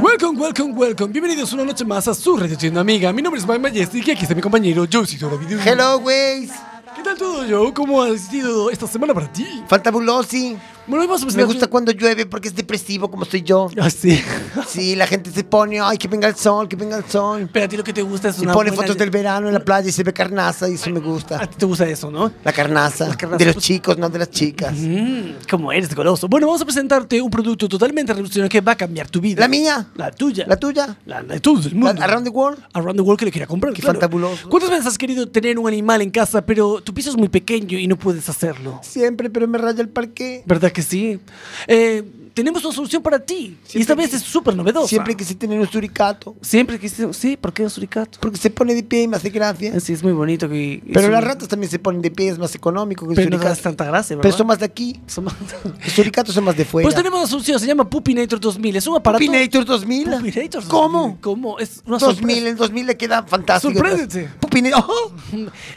Speaker 12: Welcome, welcome, welcome. Bienvenidos una noche más a su Radio Tienda Amiga. Mi nombre es My Majestic y aquí está mi compañero Joe Cito Rabidu.
Speaker 4: Hello, güey.
Speaker 12: ¿Qué tal todo, Joe? ¿Cómo ha sido esta semana para ti?
Speaker 4: Fantabulosi. Me gusta cuando llueve porque es depresivo como
Speaker 1: (laughs)
Speaker 4: soy yo.
Speaker 12: Así.
Speaker 4: Sí, la gente se pone, ay, que venga el sol, que venga el sol.
Speaker 6: Pero a ti lo que te gusta es
Speaker 4: Y
Speaker 6: una
Speaker 4: pone
Speaker 6: buena-
Speaker 4: fotos del verano en la playa y se ve carnaza y eso me gusta.
Speaker 6: A ti te gusta eso, ¿no?
Speaker 4: La carnaza.
Speaker 6: carnaza,
Speaker 4: De los
Speaker 6: pues-
Speaker 4: chicos, no de las chicas.
Speaker 6: ¿Cómo eres, goloso? Bueno, vamos a presentarte un producto totalmente revolucionario que va a cambiar tu vida.
Speaker 4: ¿La mía?
Speaker 6: La tuya.
Speaker 4: ¿La tuya?
Speaker 6: La de todo el mundo.
Speaker 4: ¿Around the world?
Speaker 6: Around the World que le quiera comprar.
Speaker 4: Qué
Speaker 6: claro.
Speaker 4: fantabuloso.
Speaker 6: ¿Cuántas veces has querido tener un animal en casa, pero tu piso es muy pequeño y no puedes hacerlo?
Speaker 4: Siempre, pero me raya el parque.
Speaker 6: ¿Verdad que sí? Eh, tenemos una solución para ti. y esta vez es súper novedosa.
Speaker 4: Siempre quise tener un suricato.
Speaker 6: Siempre que sí, ¿por qué un suricato?
Speaker 4: Porque se pone de pie y me hace gracia.
Speaker 6: Sí, es muy bonito que...
Speaker 4: Pero
Speaker 6: es
Speaker 4: las
Speaker 6: un-
Speaker 4: ratas también se ponen de pie, es más económico que el
Speaker 6: Pero no
Speaker 4: suricato.
Speaker 6: das tanta gracia, ¿verdad?
Speaker 4: Pero son más de aquí. Los suricatos son más de fuera.
Speaker 6: Pues tenemos una solución, se llama Pupinator 2000. Es un aparato...
Speaker 4: Pupinator 2000.
Speaker 6: Pupinator 2000.
Speaker 4: ¿Cómo?
Speaker 6: ¿Cómo? Es una
Speaker 4: 2000,
Speaker 6: sorpresa.
Speaker 4: el 2000 le queda fantástico.
Speaker 6: Sorpréndete.
Speaker 4: Pupine- ¡Oh!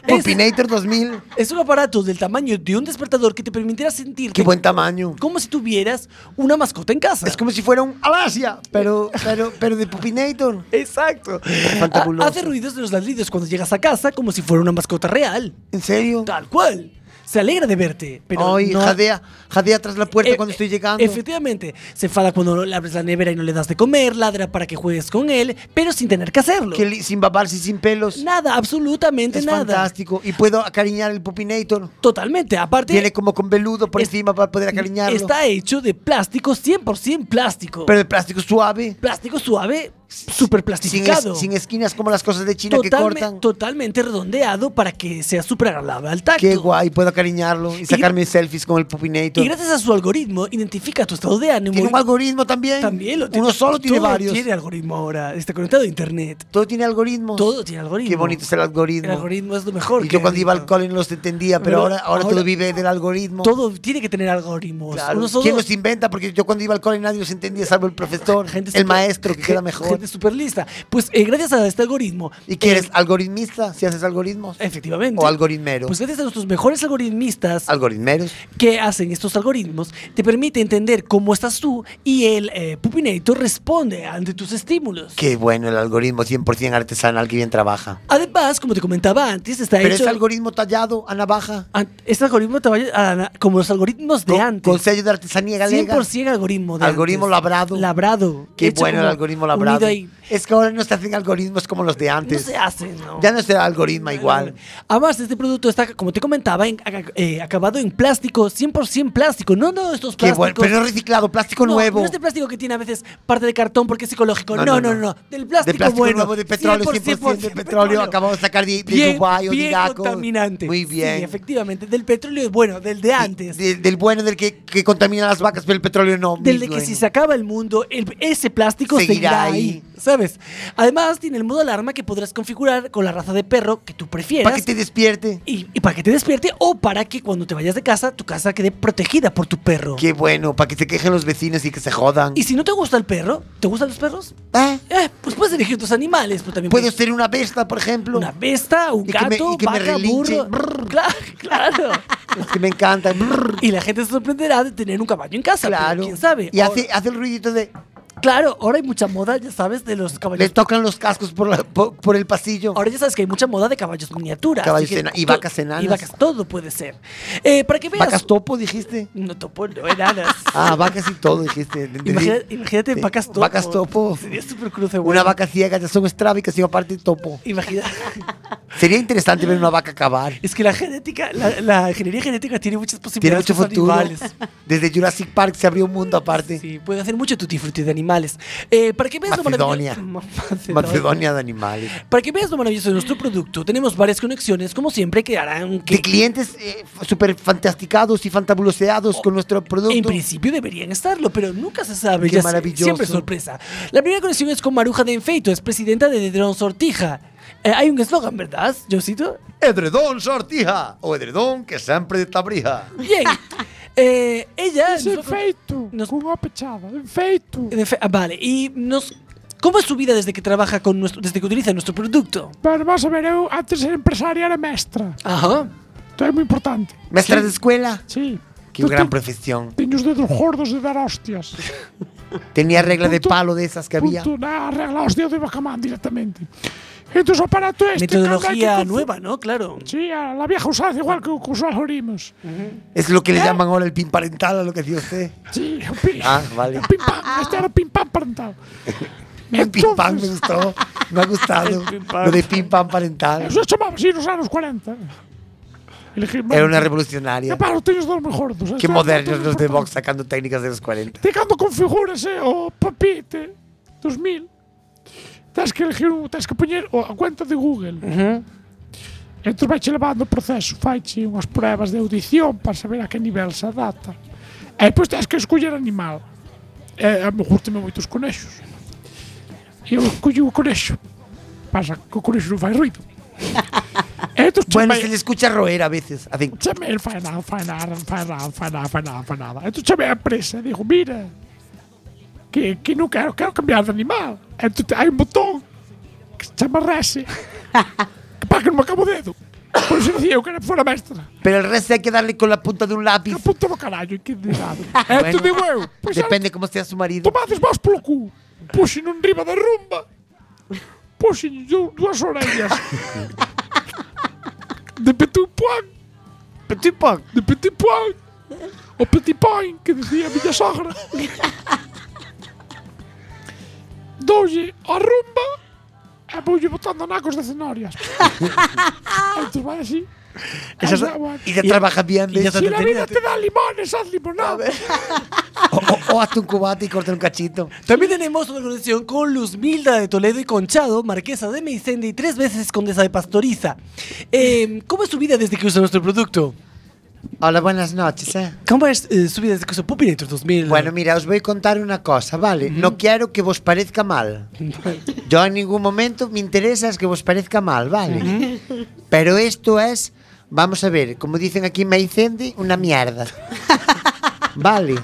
Speaker 6: Es-
Speaker 4: Pupinator 2000.
Speaker 6: Es un aparato del tamaño de un despertador que te permitirá sentir
Speaker 4: Qué buen tamaño.
Speaker 6: como si tuvieras una mascota en casa.
Speaker 4: Es como si fuera un Alasia, pero, pero, pero de Pupinator.
Speaker 6: Exacto.
Speaker 4: Fantabuloso.
Speaker 6: Ha- Hace ruidos de los ladridos cuando llegas a casa como si fuera una mascota real.
Speaker 4: ¿En serio?
Speaker 6: Tal cual. Se alegra de verte, pero
Speaker 4: Ay,
Speaker 6: no-
Speaker 4: jadea, jadea tras la puerta
Speaker 6: Eh,
Speaker 4: cuando
Speaker 6: eh,
Speaker 4: estoy llegando.
Speaker 6: Efectivamente, se enfada cuando le abres la nevera y no le das de comer, ladra para que juegues con él, pero sin tener que hacerlo.
Speaker 4: Que li- sin babarse y sin pelos.
Speaker 6: Nada, absolutamente
Speaker 4: Es
Speaker 6: nada.
Speaker 4: fantástico. Y puedo acariñar el Pupinator.
Speaker 6: Totalmente, aparte
Speaker 4: Viene como con veludo por encima para poder acariñarlo.
Speaker 6: está hecho de plástico 100% plástico.
Speaker 4: Pero el plástico es suave.
Speaker 6: plástico suave, súper
Speaker 4: Sin, es-
Speaker 6: plastificado.
Speaker 4: sin esquinas como las cosas de China que cortan.
Speaker 6: Totalmente redondeado para que sea súper agradable al tacto.
Speaker 4: Qué guay, puedo acariñarlo y sacarme selfies con el Pupinator.
Speaker 6: Y gracias a su algoritmo identifica tu estado de ánimo.
Speaker 4: Tiene un
Speaker 6: y-
Speaker 4: algoritmo también.
Speaker 6: También lo
Speaker 4: Uno solo tiene
Speaker 6: Todo
Speaker 4: varios.
Speaker 6: Tiene algoritmo ahora. Está conectado a internet.
Speaker 4: Todo tiene algoritmos.
Speaker 6: Todo tiene algoritmo.
Speaker 4: Qué bonito es el algoritmo.
Speaker 6: El algoritmo es lo mejor.
Speaker 4: y
Speaker 6: que
Speaker 4: yo cuando
Speaker 6: hay.
Speaker 4: iba al cole no los entendía, pero,
Speaker 6: Pero
Speaker 4: ahora, ahora,
Speaker 6: ahora-
Speaker 4: todo vive del algoritmo.
Speaker 6: Todo tiene que tener algoritmos.
Speaker 4: Claro.
Speaker 6: Uno solo-
Speaker 4: ¿Quién los inventa? Porque yo cuando iba al cole nadie los entendía, salvo el profesor,
Speaker 6: gente
Speaker 4: el
Speaker 6: súper-
Speaker 4: maestro, que queda
Speaker 6: gen-
Speaker 4: mejor.
Speaker 6: Gente súper lista. Pues eh, gracias a este algoritmo.
Speaker 4: ¿Y que
Speaker 6: eh,
Speaker 4: eres algoritmista si haces algoritmos?
Speaker 6: Efectivamente.
Speaker 4: ¿O algoritmero?
Speaker 6: Pues gracias a nuestros mejores algoritmistas
Speaker 4: Algoritmeros.
Speaker 6: que hacen estos algoritmos, te permite entender cómo estás tú y el eh, Pupinator responde ante tus estímulos.
Speaker 4: Qué bueno el algoritmo 100% artesanal que bien trabaja.
Speaker 6: Además, como te comentaba antes, está
Speaker 4: Pero
Speaker 6: hecho...
Speaker 4: es algoritmo tallado a navaja.
Speaker 6: an- Este algoritmo te va a- a- como los algoritmos de
Speaker 4: con,
Speaker 6: antes.
Speaker 4: con sello de artesanía galega.
Speaker 6: 100% algoritmo de
Speaker 4: Algoritmo
Speaker 6: antes.
Speaker 4: labrado.
Speaker 6: Labrado.
Speaker 4: Qué
Speaker 6: hecho
Speaker 4: bueno el
Speaker 6: como
Speaker 4: algoritmo
Speaker 6: unido
Speaker 4: labrado.
Speaker 6: ahí.
Speaker 4: Es que ahora no se hacen algoritmos como los de
Speaker 6: No
Speaker 4: antes.
Speaker 6: se hace, ¿no?
Speaker 4: Ya no será algoritmo igual.
Speaker 6: Además, este producto está, como te comentaba, en- a- eh, acabado en plástico, 100% plástico. No, no, estos
Speaker 4: Qué
Speaker 6: plásticos.
Speaker 4: bueno, pero no reciclado, plástico
Speaker 6: No,
Speaker 4: nuevo.
Speaker 6: No este plástico que tiene a veces parte de cartón porque es ecológico.
Speaker 4: No,
Speaker 6: No,
Speaker 4: no,
Speaker 6: no, no.
Speaker 4: no.
Speaker 6: Del plástico,
Speaker 4: de plástico
Speaker 6: bueno.
Speaker 4: nuevo, de petróleo, 100%, de petróleo. Acabamos de sacar de, de
Speaker 6: bien,
Speaker 4: Dubái o de
Speaker 6: bien
Speaker 4: Irak. o-
Speaker 6: contaminante.
Speaker 4: Muy
Speaker 6: Sí,
Speaker 4: bien.
Speaker 6: efectivamente. Del petróleo es bueno, del de antes.
Speaker 4: De- del bueno, del que, que contamina las vacas, pero el petróleo no. muy
Speaker 6: del de que
Speaker 4: bueno.
Speaker 6: si se acaba el mundo, el- ese plástico
Speaker 4: Seguirá
Speaker 6: seguirá,
Speaker 4: ahí.
Speaker 6: ahí. ¿Sabes? Además, tiene el modo alarma que podrás configurar con la raza de perro que tú prefieras.
Speaker 4: Para que te despierte.
Speaker 6: y, y para que te despierte o para que cuando te vayas de casa, tu casa quede protegida por tu perro.
Speaker 4: Qué bueno, para que se quejen los vecinos y que se jodan.
Speaker 6: Y si no te gusta el perro, ¿te gustan los perros?
Speaker 4: ¿Eh?
Speaker 6: Eh, pues puedes elegir tus animales, pero también
Speaker 4: Puedo
Speaker 6: puedes
Speaker 4: ser una besta, por ejemplo.
Speaker 6: una besta, un
Speaker 4: Y que me-
Speaker 6: gato,
Speaker 4: y que me
Speaker 6: vaca, (laughs)
Speaker 4: relinche.
Speaker 6: burro. Claro, claro.
Speaker 4: Es que me encanta.
Speaker 6: (laughs) y la gente se sorprenderá de tener un caballo en casa. Claro. ¿Quién sabe?
Speaker 4: Y hace, hace el ruidito de...
Speaker 6: Claro, ahora hay mucha moda, ya sabes, de los caballos.
Speaker 4: Le tocan los cascos por, la- por, por el pasillo.
Speaker 6: Ahora ya sabes que hay mucha moda de caballos miniaturas.
Speaker 4: Caballos ena- y vacas enanas.
Speaker 6: Y vacas, todo puede ser. Eh, para que veas.
Speaker 4: ¿Vacas topo dijiste?
Speaker 6: No topo, no enanas.
Speaker 4: (laughs) Ah, vacas y todo dijiste. entendí.
Speaker 6: Imagina- imagínate
Speaker 4: Sí,
Speaker 6: vacas topo.
Speaker 4: Vacas topo.
Speaker 6: (laughs) Sería súper cruce, güey.
Speaker 4: Una vaca ciega ya son estrábicas y aparte topo.
Speaker 6: Imagina. (laughs)
Speaker 4: Sería interesante ver una vaca cavar.
Speaker 6: Es que la genética, la, la ingeniería genética tiene muchas
Speaker 4: Tiene
Speaker 6: posibilidades.
Speaker 4: mucho
Speaker 6: con los
Speaker 4: futuro.
Speaker 6: animales.
Speaker 4: Desde Jurassic Park se abrió un mundo aparte.
Speaker 6: Sí, puede hacer mucho tutti frutti de animales. Eh, para que veas lo
Speaker 4: Macedonia.
Speaker 6: (laughs) maravilloso-
Speaker 4: Macedonia de animales.
Speaker 6: Para que veas lo maravilloso de nuestro producto, tenemos varias conexiones, como siempre, que harán que.
Speaker 4: De clientes eh, súper fantasticados y fantabuloseados con nuestro producto.
Speaker 6: En principio deberían estarlo, pero nunca se sabe.
Speaker 4: Qué
Speaker 6: ya sé,
Speaker 4: maravilloso.
Speaker 6: Siempre sorpresa. La primera conexión es con Maruja de Enfeito, es presidenta de Dedrón Sortija. Eh, hay un eslogan, ¿verdad, Josito?
Speaker 4: Edredón sortija o edredón que siempre está brija. (laughs)
Speaker 6: Bien. Eh, ella.
Speaker 7: Es
Speaker 6: nos-
Speaker 7: Enfeito,
Speaker 6: nos-
Speaker 7: cunha pechada, Enfeito.
Speaker 6: de fe- ah, vale, y nos. ¿Cómo es su vida desde que trabaja con nuestro. desde que utiliza nuestro producto?
Speaker 7: Pero vas a ver, eu antes de ser empresaria era mestra.
Speaker 6: Ajá.
Speaker 7: Isto é moi importante.
Speaker 4: Mestra de escuela.
Speaker 7: Sí.
Speaker 4: Qué gran profesión.
Speaker 7: Tiño os dedos gordos de dar hostias.
Speaker 4: Tenía regla de palo de esas que había.
Speaker 7: Punto na regla hostias de Bacamán directamente. Entón, o aparato este...
Speaker 6: Metodología
Speaker 7: cando hai que confu-
Speaker 6: nueva, ¿no? Claro.
Speaker 7: Sí, a la vieja usanza, igual que o que os algoritmos.
Speaker 4: Es lo que le llaman ahora el pin parental a lo que decía usted.
Speaker 7: Sí, o pi.
Speaker 4: Ah, vale.
Speaker 7: o pim pam, este era o pim pam parentado.
Speaker 4: (laughs) El pin pan me gustó. Me ha gustado. Lo de pin pan parental.
Speaker 7: Eso chamaba así nos anos 40. Elegir
Speaker 4: Era una revolucionaria.
Speaker 7: Que para, os teños dos moi gordos.
Speaker 4: Qué
Speaker 7: Este é o
Speaker 4: modernos
Speaker 7: método
Speaker 4: los de Vox
Speaker 7: importante.
Speaker 4: sacando técnicas de los 40.
Speaker 7: Te cando configúrase eh, o papite 2000, tens que elegir, un- tens que poñer o- a cuenta de Google.
Speaker 6: Ujú.
Speaker 7: Entón vai levando o proceso, faiche unhas pruebas de audición para saber a que nivel se adapta. E depois tens que escoller animal. E a me gustame moito os conexos. E eu escollo o conexo. Pasa que o conexo non fai ruido. E entón
Speaker 4: Bueno,
Speaker 7: chamei-
Speaker 4: se le escucha roer a veces. Hacen
Speaker 7: Chame, el fai nada, fai nada, fai nada, fai nada, fai nada, fai nada. Então Entón chamei a empresa e dixo, mira, que, que non quero, quero cambiar de animal. É Entón hai un botón um que se chama
Speaker 4: (laughs)
Speaker 7: rese, que para que non me acabo o dedo. Por iso dicía eu que era fora mestra.
Speaker 4: Pero el resto hay que darle con la punta de un lápiz.
Speaker 7: Punto do carallo, que dedado. Entón
Speaker 4: Bueno,
Speaker 7: digo eu, pois ahora
Speaker 4: Depende cómo sea su marido.
Speaker 7: tomades vos polo cu. Puxen un riba da rumba. Puxen du- dúas
Speaker 4: (laughs)
Speaker 7: orellas. de petit poin.
Speaker 4: Petit poin.
Speaker 7: De petit poin. O petit poin, que dicía a miña sogra.
Speaker 4: (laughs)
Speaker 7: Doulle a rumba e voulle botando nacos de
Speaker 4: (laughs)
Speaker 7: cenorias. Entón vai así.
Speaker 4: Esas-
Speaker 7: Ai, guau.
Speaker 4: y ya trabaja bien.
Speaker 6: y ya
Speaker 4: ¿ves?
Speaker 6: está
Speaker 7: Si la vida
Speaker 6: entretenida.
Speaker 7: te da limones, haz limonada.
Speaker 4: O, o- o hazte un cubate y corta un cachito.
Speaker 6: También tenemos una conexión con Luzmilda de Toledo y Conchado, marquesa de Meicende y tres veces condesa de Pastoriza. Eh, ¿Cómo es su vida desde que usa nuestro producto?
Speaker 4: Hola, buenas noches, eh.
Speaker 6: ¿Cómo es eh, su vida desde que usa Popinator 2000?
Speaker 4: Bueno, mira, os voy a contar una cosa, ¿vale? No quiero que vos parezca (laughs) mal. Yo en ningún momento me interesa es que vos parezca mal, ¿vale? Pero esto es, vamos a ver, como dicen aquí en Meicende, una (laughs) mierda. Vale.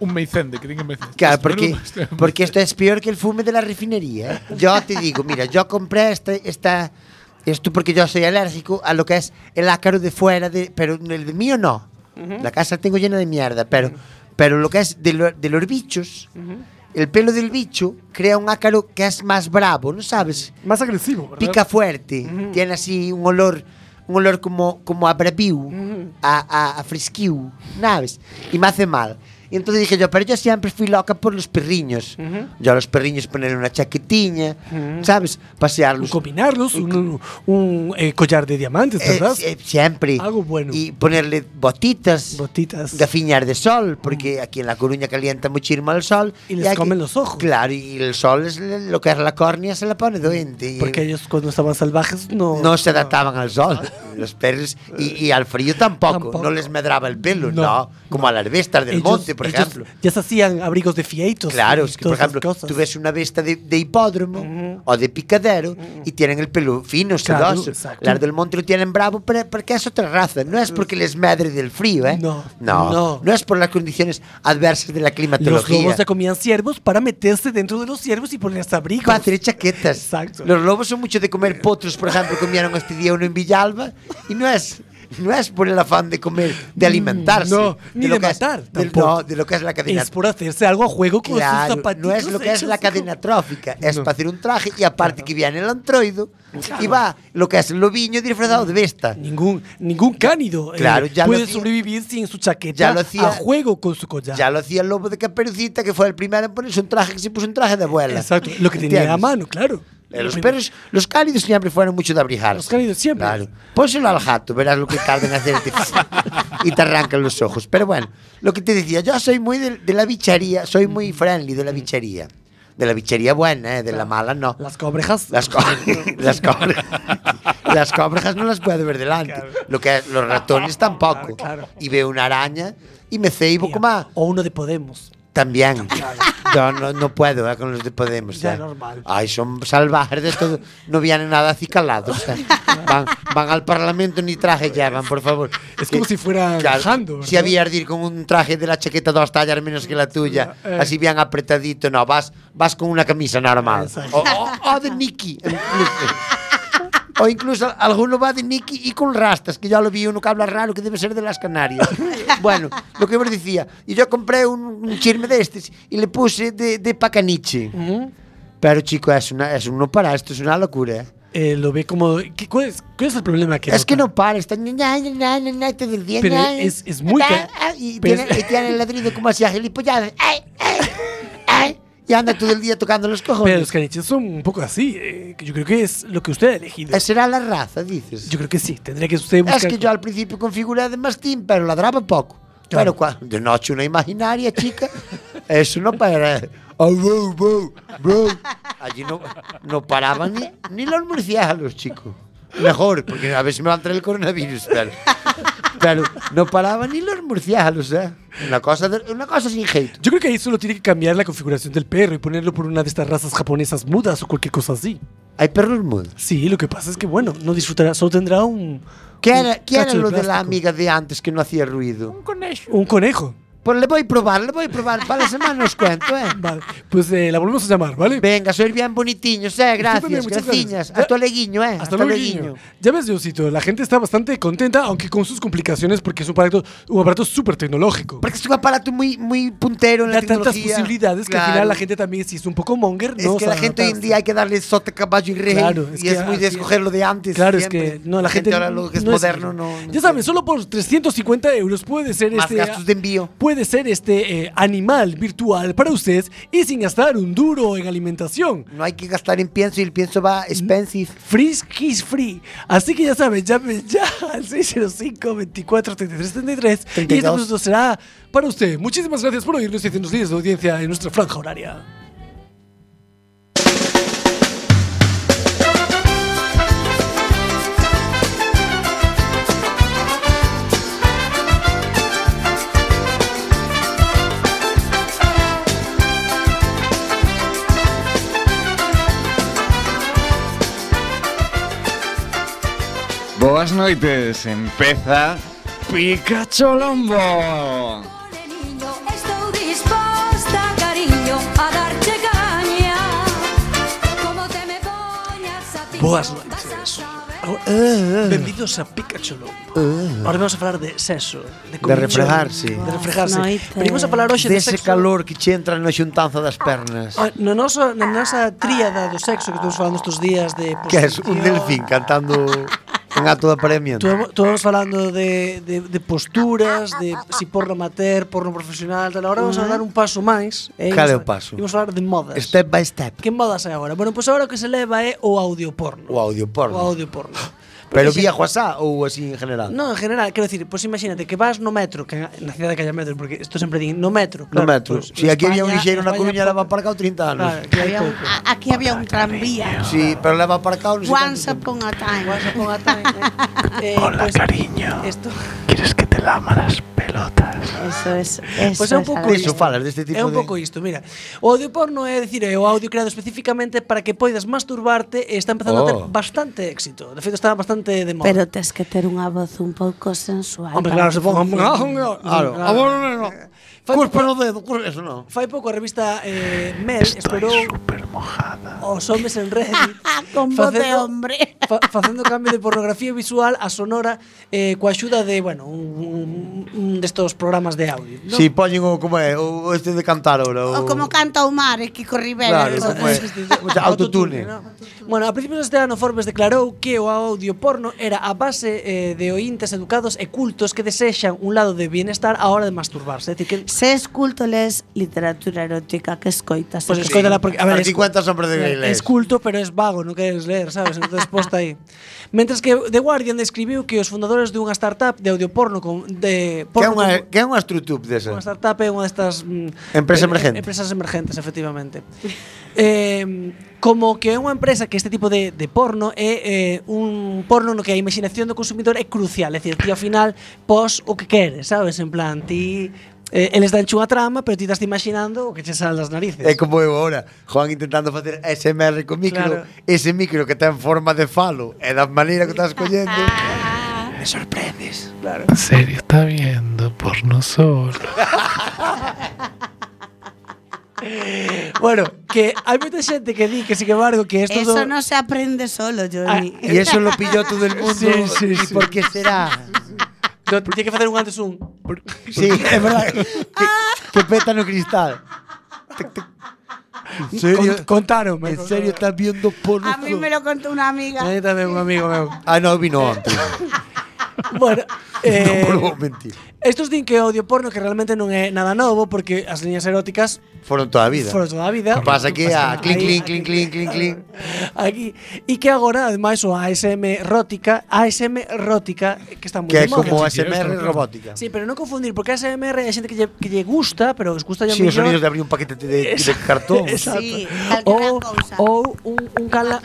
Speaker 7: Un meicende, que diga meicende.
Speaker 4: (laughs) Claro, porque, porque esto es peor que el fume de la refinería. ¿eh? Yo te digo, mira, yo compré esta, esta, esto porque yo soy alérgico a lo que es el ácaro de fuera, de, pero el de mío no. La casa tengo llena de mierda, pero, pero lo que es de, lo- de los bichos, el pelo del bicho crea un ácaro que es más bravo, ¿no sabes?
Speaker 6: Más agresivo, ¿verdad?
Speaker 4: Pica fuerte, tiene así un olor, un olor como, como a braviu, a, a, a fresquiu, ¿sabes? Y me hace mal. Y entonces dije yo, pero yo siempre fui loca por los perriños. Yo a los perriños poner una chaquetiña, ¿sabes? Pasearlos.
Speaker 6: Combinarlos, un, un- un, eh, collar de diamantes,
Speaker 4: Eh,
Speaker 6: ¿verdad?
Speaker 4: sie- siempre.
Speaker 6: Algo bueno.
Speaker 4: Y ponerle botitas.
Speaker 6: Botitas.
Speaker 4: Gafiñar de sol, porque aquí en La Coruña calienta muchísimo el sol.
Speaker 6: Y les
Speaker 4: aquí-
Speaker 6: comen los ojos.
Speaker 4: Claro, y el sol es le- lo que es la córnea, se la pone doente. y-
Speaker 6: Porque ellos cuando estaban salvajes no...
Speaker 4: no se adaptaban al sol, (laughs) los perros, y, y al frío tampoco.
Speaker 6: Tampoco.
Speaker 4: No les medraba el pelo,
Speaker 6: No,
Speaker 4: no. como a las bestas del
Speaker 6: Ellos-
Speaker 4: monte, por
Speaker 6: ellos
Speaker 4: ejemplo.
Speaker 6: Ya se hacían abrigos de fieitos.
Speaker 4: Claro,
Speaker 6: y
Speaker 4: es que, por
Speaker 6: todas esas
Speaker 4: ejemplo,
Speaker 6: cosas.
Speaker 4: tú ves una besta de, de hipódromo o de picadero y tienen el pelo fino,
Speaker 6: Claro,
Speaker 4: sedoso.
Speaker 6: exacto.
Speaker 4: Las del monte lo tienen bravo pero- porque es otra raza. No es porque les medre del frío, ¿eh?
Speaker 6: No,
Speaker 4: No,
Speaker 6: no.
Speaker 4: no, es por las condiciones adversas de la
Speaker 6: Los
Speaker 4: climatología.
Speaker 6: lobos ya comían ciervos para meterse dentro de los ciervos y ponerse abrigos.
Speaker 4: Para hacer chaquetas.
Speaker 6: Exacto.
Speaker 4: Los lobos son mucho de comer potros, por ejemplo, comieron este día uno en Villalba y no es. no es por el afán de comer, de alimentarse.
Speaker 6: Mm, no, ni
Speaker 4: lo
Speaker 6: de
Speaker 4: que es-
Speaker 6: matar,
Speaker 4: de-
Speaker 6: tampoco.
Speaker 4: no, de lo que es la cadena.
Speaker 6: Es por hacerse algo a juego con sus
Speaker 4: Claro, No es
Speaker 6: zapatitos
Speaker 4: lo que es
Speaker 6: hechos
Speaker 4: la
Speaker 6: con-
Speaker 4: cadena trófica, es para hacer un traje y aparte que viene el antroido y va lo que es el lobiño disfrazado de
Speaker 6: Mm.
Speaker 4: besta.
Speaker 6: Ningún, ningún cánido eh,
Speaker 4: claro, ya lo
Speaker 6: puede
Speaker 4: hacía-
Speaker 6: sobrevivir sin su chaqueta
Speaker 4: ya lo hacía-
Speaker 6: a juego con su collar.
Speaker 4: Ya lo hacía el lobo de Caperucita, que fue el primero en ponerse un traje, que se puso un traje de abuela.
Speaker 6: Exacto, lo que tenía a
Speaker 4: ¿Entiendes?
Speaker 6: mano, claro.
Speaker 4: Eh, Los perros, los cálidos siempre fueron mucho de abrigarse. Los
Speaker 6: cálidos siempre.
Speaker 4: Claro. Pónselo al gato, verás lo que tardan en hacerte (laughs) y te arrancan los ojos. Pero bueno, lo que te decía, yo soy muy de, de la bicharía, soy muy friendly de la bicharía. De la bicharía buena, ¿eh? de la mala no.
Speaker 6: Las cobrejas.
Speaker 4: Las, co- (laughs) las, cobre- (laughs) las cobrejas no las puedo ver delante. Lo que, los ratones tampoco. Y veo una araña y me ceibo como
Speaker 6: O uno de Podemos.
Speaker 4: También. Yo no, no puedo eh, con los de Podemos.
Speaker 6: Ya,
Speaker 4: eh.
Speaker 6: normal.
Speaker 4: Ay, son salvajes de todo. No vienen nada acicalados. eh. Van, van al Parlamento ni traje llevan, por favor.
Speaker 6: Es como si fuera viajando,
Speaker 4: Si
Speaker 6: ¿verdad?
Speaker 4: había de ir con un traje de la chaqueta dos tallas menos que la tuya,
Speaker 6: Eh.
Speaker 4: así bien apretadito, no, vas, vas con una camisa normal. O, o- o de Nicky.
Speaker 6: (laughs)
Speaker 4: incluso. O incluso alguno va de Nicky y con rastas, que ya lo vi uno que habla raro, que debe ser de las
Speaker 6: (laughs)
Speaker 4: Canarias. Bueno, lo que os decía, y yo compré un, un chisme de estos y le puse de, de pacaniche. Pero chico, es, una, es uno para esto, es una locura. ¿eh?
Speaker 6: Eh, lo ve como. ¿qué- cuál, es, cuál es el problema que.?
Speaker 4: Es que no para, está ña, ña, ña, ña, ña, ña, todo el día.
Speaker 6: Pero
Speaker 4: ña,
Speaker 6: es- es muy
Speaker 4: ña,
Speaker 6: ca-
Speaker 4: ah, Y
Speaker 6: pero
Speaker 4: tiene,
Speaker 6: es-
Speaker 4: y tiene el ladrido como así, agilipollado. ¡Ay, ay, ay! Y anda todo el día tocando los
Speaker 6: Pero
Speaker 4: cojones.
Speaker 6: los caniches son un poco así. eh, que yo creo que es lo que usted ha elegido.
Speaker 4: Será la raza, dices.
Speaker 6: Yo creo que sí. Tendría que usted buscar.
Speaker 4: Es que yo al principio configuré de mastín, pero ladraba poco. Pero cuando de noche una imaginaria
Speaker 6: (laughs)
Speaker 4: chica, eso no para. Oh, wow, wow, wow. Allí no, no paraban ni, ni los murciélagos, chicos. Mejor, porque a ver si me va a entrar el coronavirus. Pero, pero no paraban ni los murciélagos, ¿eh? Una cosa, de- una cosa sin jeito.
Speaker 6: Yo creo que ahí solo tiene que cambiar la configuración del perro y ponerlo por una de estas razas japonesas mudas o cualquier cosa así.
Speaker 4: ¿Hay perros mudos?
Speaker 6: Sí, lo que pasa es que, bueno, no disfrutará, solo tendrá un.
Speaker 4: ¿Qué
Speaker 6: un
Speaker 4: era, qué era
Speaker 6: cacho
Speaker 4: lo de la
Speaker 6: plástico.
Speaker 4: amiga de antes que no hacía ruido?
Speaker 6: Un conejo.
Speaker 4: Pues le voy a probar, le voy a probar. Para la semana os cuento, ¿eh?
Speaker 6: (laughs) Vale. Pues eh, la volvemos a llamar, ¿vale?
Speaker 4: Venga, sois bien bonitiños, eh,
Speaker 6: también,
Speaker 4: gracias,
Speaker 6: muchas
Speaker 4: graciñas.
Speaker 6: gracias.
Speaker 4: Hasta leguiño, eh.
Speaker 6: Hasta luego, Guiño. Ya ves, Diosito, la gente está bastante contenta, aunque con sus complicaciones, porque es un aparato, un aparato súper tecnológico.
Speaker 4: Porque es un aparato muy, muy puntero en la
Speaker 6: Da tantas
Speaker 4: tecnología.
Speaker 6: posibilidades que al final
Speaker 4: Claro.
Speaker 6: la gente también, si es un poco monger,
Speaker 4: Es
Speaker 6: no
Speaker 4: que
Speaker 6: sabe
Speaker 4: la gente hoy en
Speaker 6: adaptarse.
Speaker 4: día hay que darle sota, caballo y rey.
Speaker 6: Claro, es
Speaker 4: y
Speaker 6: que
Speaker 4: es muy
Speaker 6: así
Speaker 4: de
Speaker 6: es.
Speaker 4: escoger lo de antes.
Speaker 6: Claro, es
Speaker 4: siempre.
Speaker 6: que no, la gente,
Speaker 4: ahora lo que es
Speaker 6: no
Speaker 4: moderno no.
Speaker 6: Ya saben, solo por 350 euros puede ser
Speaker 4: Más
Speaker 6: este
Speaker 4: gastos de envío.
Speaker 6: Puede ser este eh, animal virtual para ustedes y sin gastar un duro en alimentación.
Speaker 4: No hay que gastar en pienso y el pienso
Speaker 6: Mm.
Speaker 4: va expensive.
Speaker 6: Frisk is free. Así que ya saben, llamen ya al 605 24 33 33 y este
Speaker 4: 32.
Speaker 6: producto será para usted. Muchísimas gracias por oírnos y hacernos líderes de audiencia en nuestra franja horaria.
Speaker 14: Boas noites, empeza Pikachu Lombo.
Speaker 15: Estou disposta, cariño, a darte caña Como te me poñas a ti
Speaker 6: Boas noites. Oh,
Speaker 4: Oh,
Speaker 6: Ah, eh.
Speaker 4: eh.
Speaker 6: Bienvenidos a Pikachu Lombo. Ahora vamos a hablar de sexo. De,
Speaker 4: De
Speaker 6: comichón,
Speaker 4: refregarse.
Speaker 6: De refrejarse. Venimos a hablar hoxe de,
Speaker 4: Dese
Speaker 6: sexo.
Speaker 4: calor que che entra na xuntanza das pernas.
Speaker 6: Ah, Na nosa, na nosa tríada do sexo que estamos falando estes días de
Speaker 4: que es un delfín cantando en acto de apareamiento.
Speaker 6: Estamos falando de, de, de posturas, de si porno amateur, porno profesional, tal. Ahora vamos a
Speaker 4: Ujú.
Speaker 6: dar un paso máis. eh,
Speaker 4: Cal é
Speaker 6: imos
Speaker 4: o paso?
Speaker 6: fa- Imos falar de modas.
Speaker 4: Step by step.
Speaker 6: Que modas hai agora? Bueno, pois pues agora o que se leva é o audio porno.
Speaker 4: O audio porno.
Speaker 6: O audio
Speaker 4: (gasps)
Speaker 6: porno.
Speaker 4: Pero
Speaker 6: Porque
Speaker 4: vía
Speaker 6: xa-
Speaker 4: WhatsApp ou así en general?
Speaker 6: No, en general, quero dicir, pois imagínate que vas no metro, que na cidade que haya metro, porque isto sempre din no metro.
Speaker 4: No
Speaker 6: Claro,
Speaker 4: metro.
Speaker 6: pois,
Speaker 4: si aquí había un lixeiro
Speaker 6: España-
Speaker 4: na
Speaker 6: España
Speaker 4: Coruña, leva para cá 30 anos.
Speaker 6: Claro, que hai pouco.
Speaker 8: A- Aquí había un tranvía.
Speaker 4: Sí, pero leva para cá non sei
Speaker 8: Once upon a time. Once upon a time.
Speaker 6: Eh, Hola, cariño. Esto. ¿Quieres que te lama las pelotas?
Speaker 8: Eso, eso. eso
Speaker 6: Pois é un pouco
Speaker 4: Diso falas, deste tipo
Speaker 6: É un
Speaker 4: de-
Speaker 6: pouco isto, mira. O audio porno é dicir, é o audio creado especificamente para que poidas masturbarte e está empezando a ter
Speaker 8: Oh.
Speaker 6: bastante éxito. De feito está bastante de moda.
Speaker 8: Pero tes que ter unha voz un pouco sensual.
Speaker 6: Hombre, claro,
Speaker 8: para que
Speaker 6: se pon-
Speaker 8: funcione.
Speaker 6: (laughs) Claro. Ah, bueno, no, no.
Speaker 4: Curpa no dedo, curpa, eso non.
Speaker 6: Fai pouco a revista eh, Mel esperou os homes en Reddit
Speaker 8: Ah, Con voz de hombre
Speaker 6: fa, facendo cambio de pornografía visual a sonora eh, coa axuda de, bueno, un, un, un destos programas de audio.
Speaker 4: No. Si poñen o como é, o o este de cantar ahora, o
Speaker 8: O como canta o mar, e Kiko Rivera.
Speaker 4: Claro,
Speaker 8: eso.
Speaker 4: como é. O sea, autotune.
Speaker 6: Bueno, a principios deste ano Forbes declarou que o audio porno era a base eh, de ointes educados e cultos que desexan un lado de bienestar á hora de masturbarse. É dicir, que
Speaker 8: Se es culto, lees literatura erótica que escoitas.
Speaker 6: Pues escóitala porque a ver,
Speaker 4: Aquí
Speaker 6: es- eh,
Speaker 4: cuentas hombres de gay
Speaker 6: Es culto, pero es vago, no queres ler, sabes? Entonces posta aí. Mentres que The Guardian describiu que os fundadores dunha startup de audioporno con
Speaker 4: Que é
Speaker 6: de porno
Speaker 4: unha
Speaker 6: con-
Speaker 4: que é unha estrutup desa.
Speaker 6: Unha startup é unha destas mm,
Speaker 4: Empresa
Speaker 6: eh,
Speaker 4: emergente.
Speaker 6: Empresas emergentes, efectivamente. (laughs) eh, como que é unha empresa que este tipo de, de porno é eh, un porno no que a imaginación do consumidor é crucial, é dicir, ti ao final pos o que queres, sabes? En plan, ti eh, eles dan unha trama, pero ti estás imaginando o que che sale das narices.
Speaker 4: É como eu ahora, Juan intentando facer SMR con micro,
Speaker 6: Claro.
Speaker 4: claro. ese micro que ten forma de falo, e da maneira que o estás collendo.
Speaker 6: (laughs)
Speaker 4: me sorprendes. Claro.
Speaker 7: En serio, está viendo porno solo.
Speaker 6: bueno, que hai moita xente que di que, sin embargo, que esto
Speaker 8: Eso
Speaker 6: do...
Speaker 8: no se aprende solo, Johnny.
Speaker 6: Ah, y eso lo pilló
Speaker 4: todo el mundo,
Speaker 6: Sí, sí,
Speaker 4: ¿y
Speaker 6: sí.
Speaker 4: por qué será?
Speaker 6: No, tiene que facer un antes un.
Speaker 4: Sí, é verdade. Que, que peta no cristal. En serio?
Speaker 6: Cont- contaron,
Speaker 4: En serio, estás viendo porno
Speaker 8: A mí me lo contó una amiga.
Speaker 6: Ahí tamén un amigo meu.
Speaker 4: Ah, no, vino antes.
Speaker 6: Bueno,
Speaker 4: (laughs)
Speaker 6: eh,
Speaker 4: non vou mentir.
Speaker 6: estos din que o audio porno que realmente non é nada novo porque as liñas eróticas
Speaker 4: Foron toda a vida.
Speaker 6: Foron toda a vida.
Speaker 4: Que pasa que a clink, clink,
Speaker 6: Aí, aquí.
Speaker 4: clink, clink, clink, clink.
Speaker 6: aquí e que agora ademais o ASM erótica, ASM erótica que está moi
Speaker 4: Que é
Speaker 6: de moda.
Speaker 4: como ASMR robótica.
Speaker 6: Sí, pero non confundir porque ASMR hai xente que lle, que lle gusta, pero os gusta lle
Speaker 4: Sí, os sonidos de abrir un paquete de, de cartón.
Speaker 6: (laughs) Exacto. ou, ou un, un cala...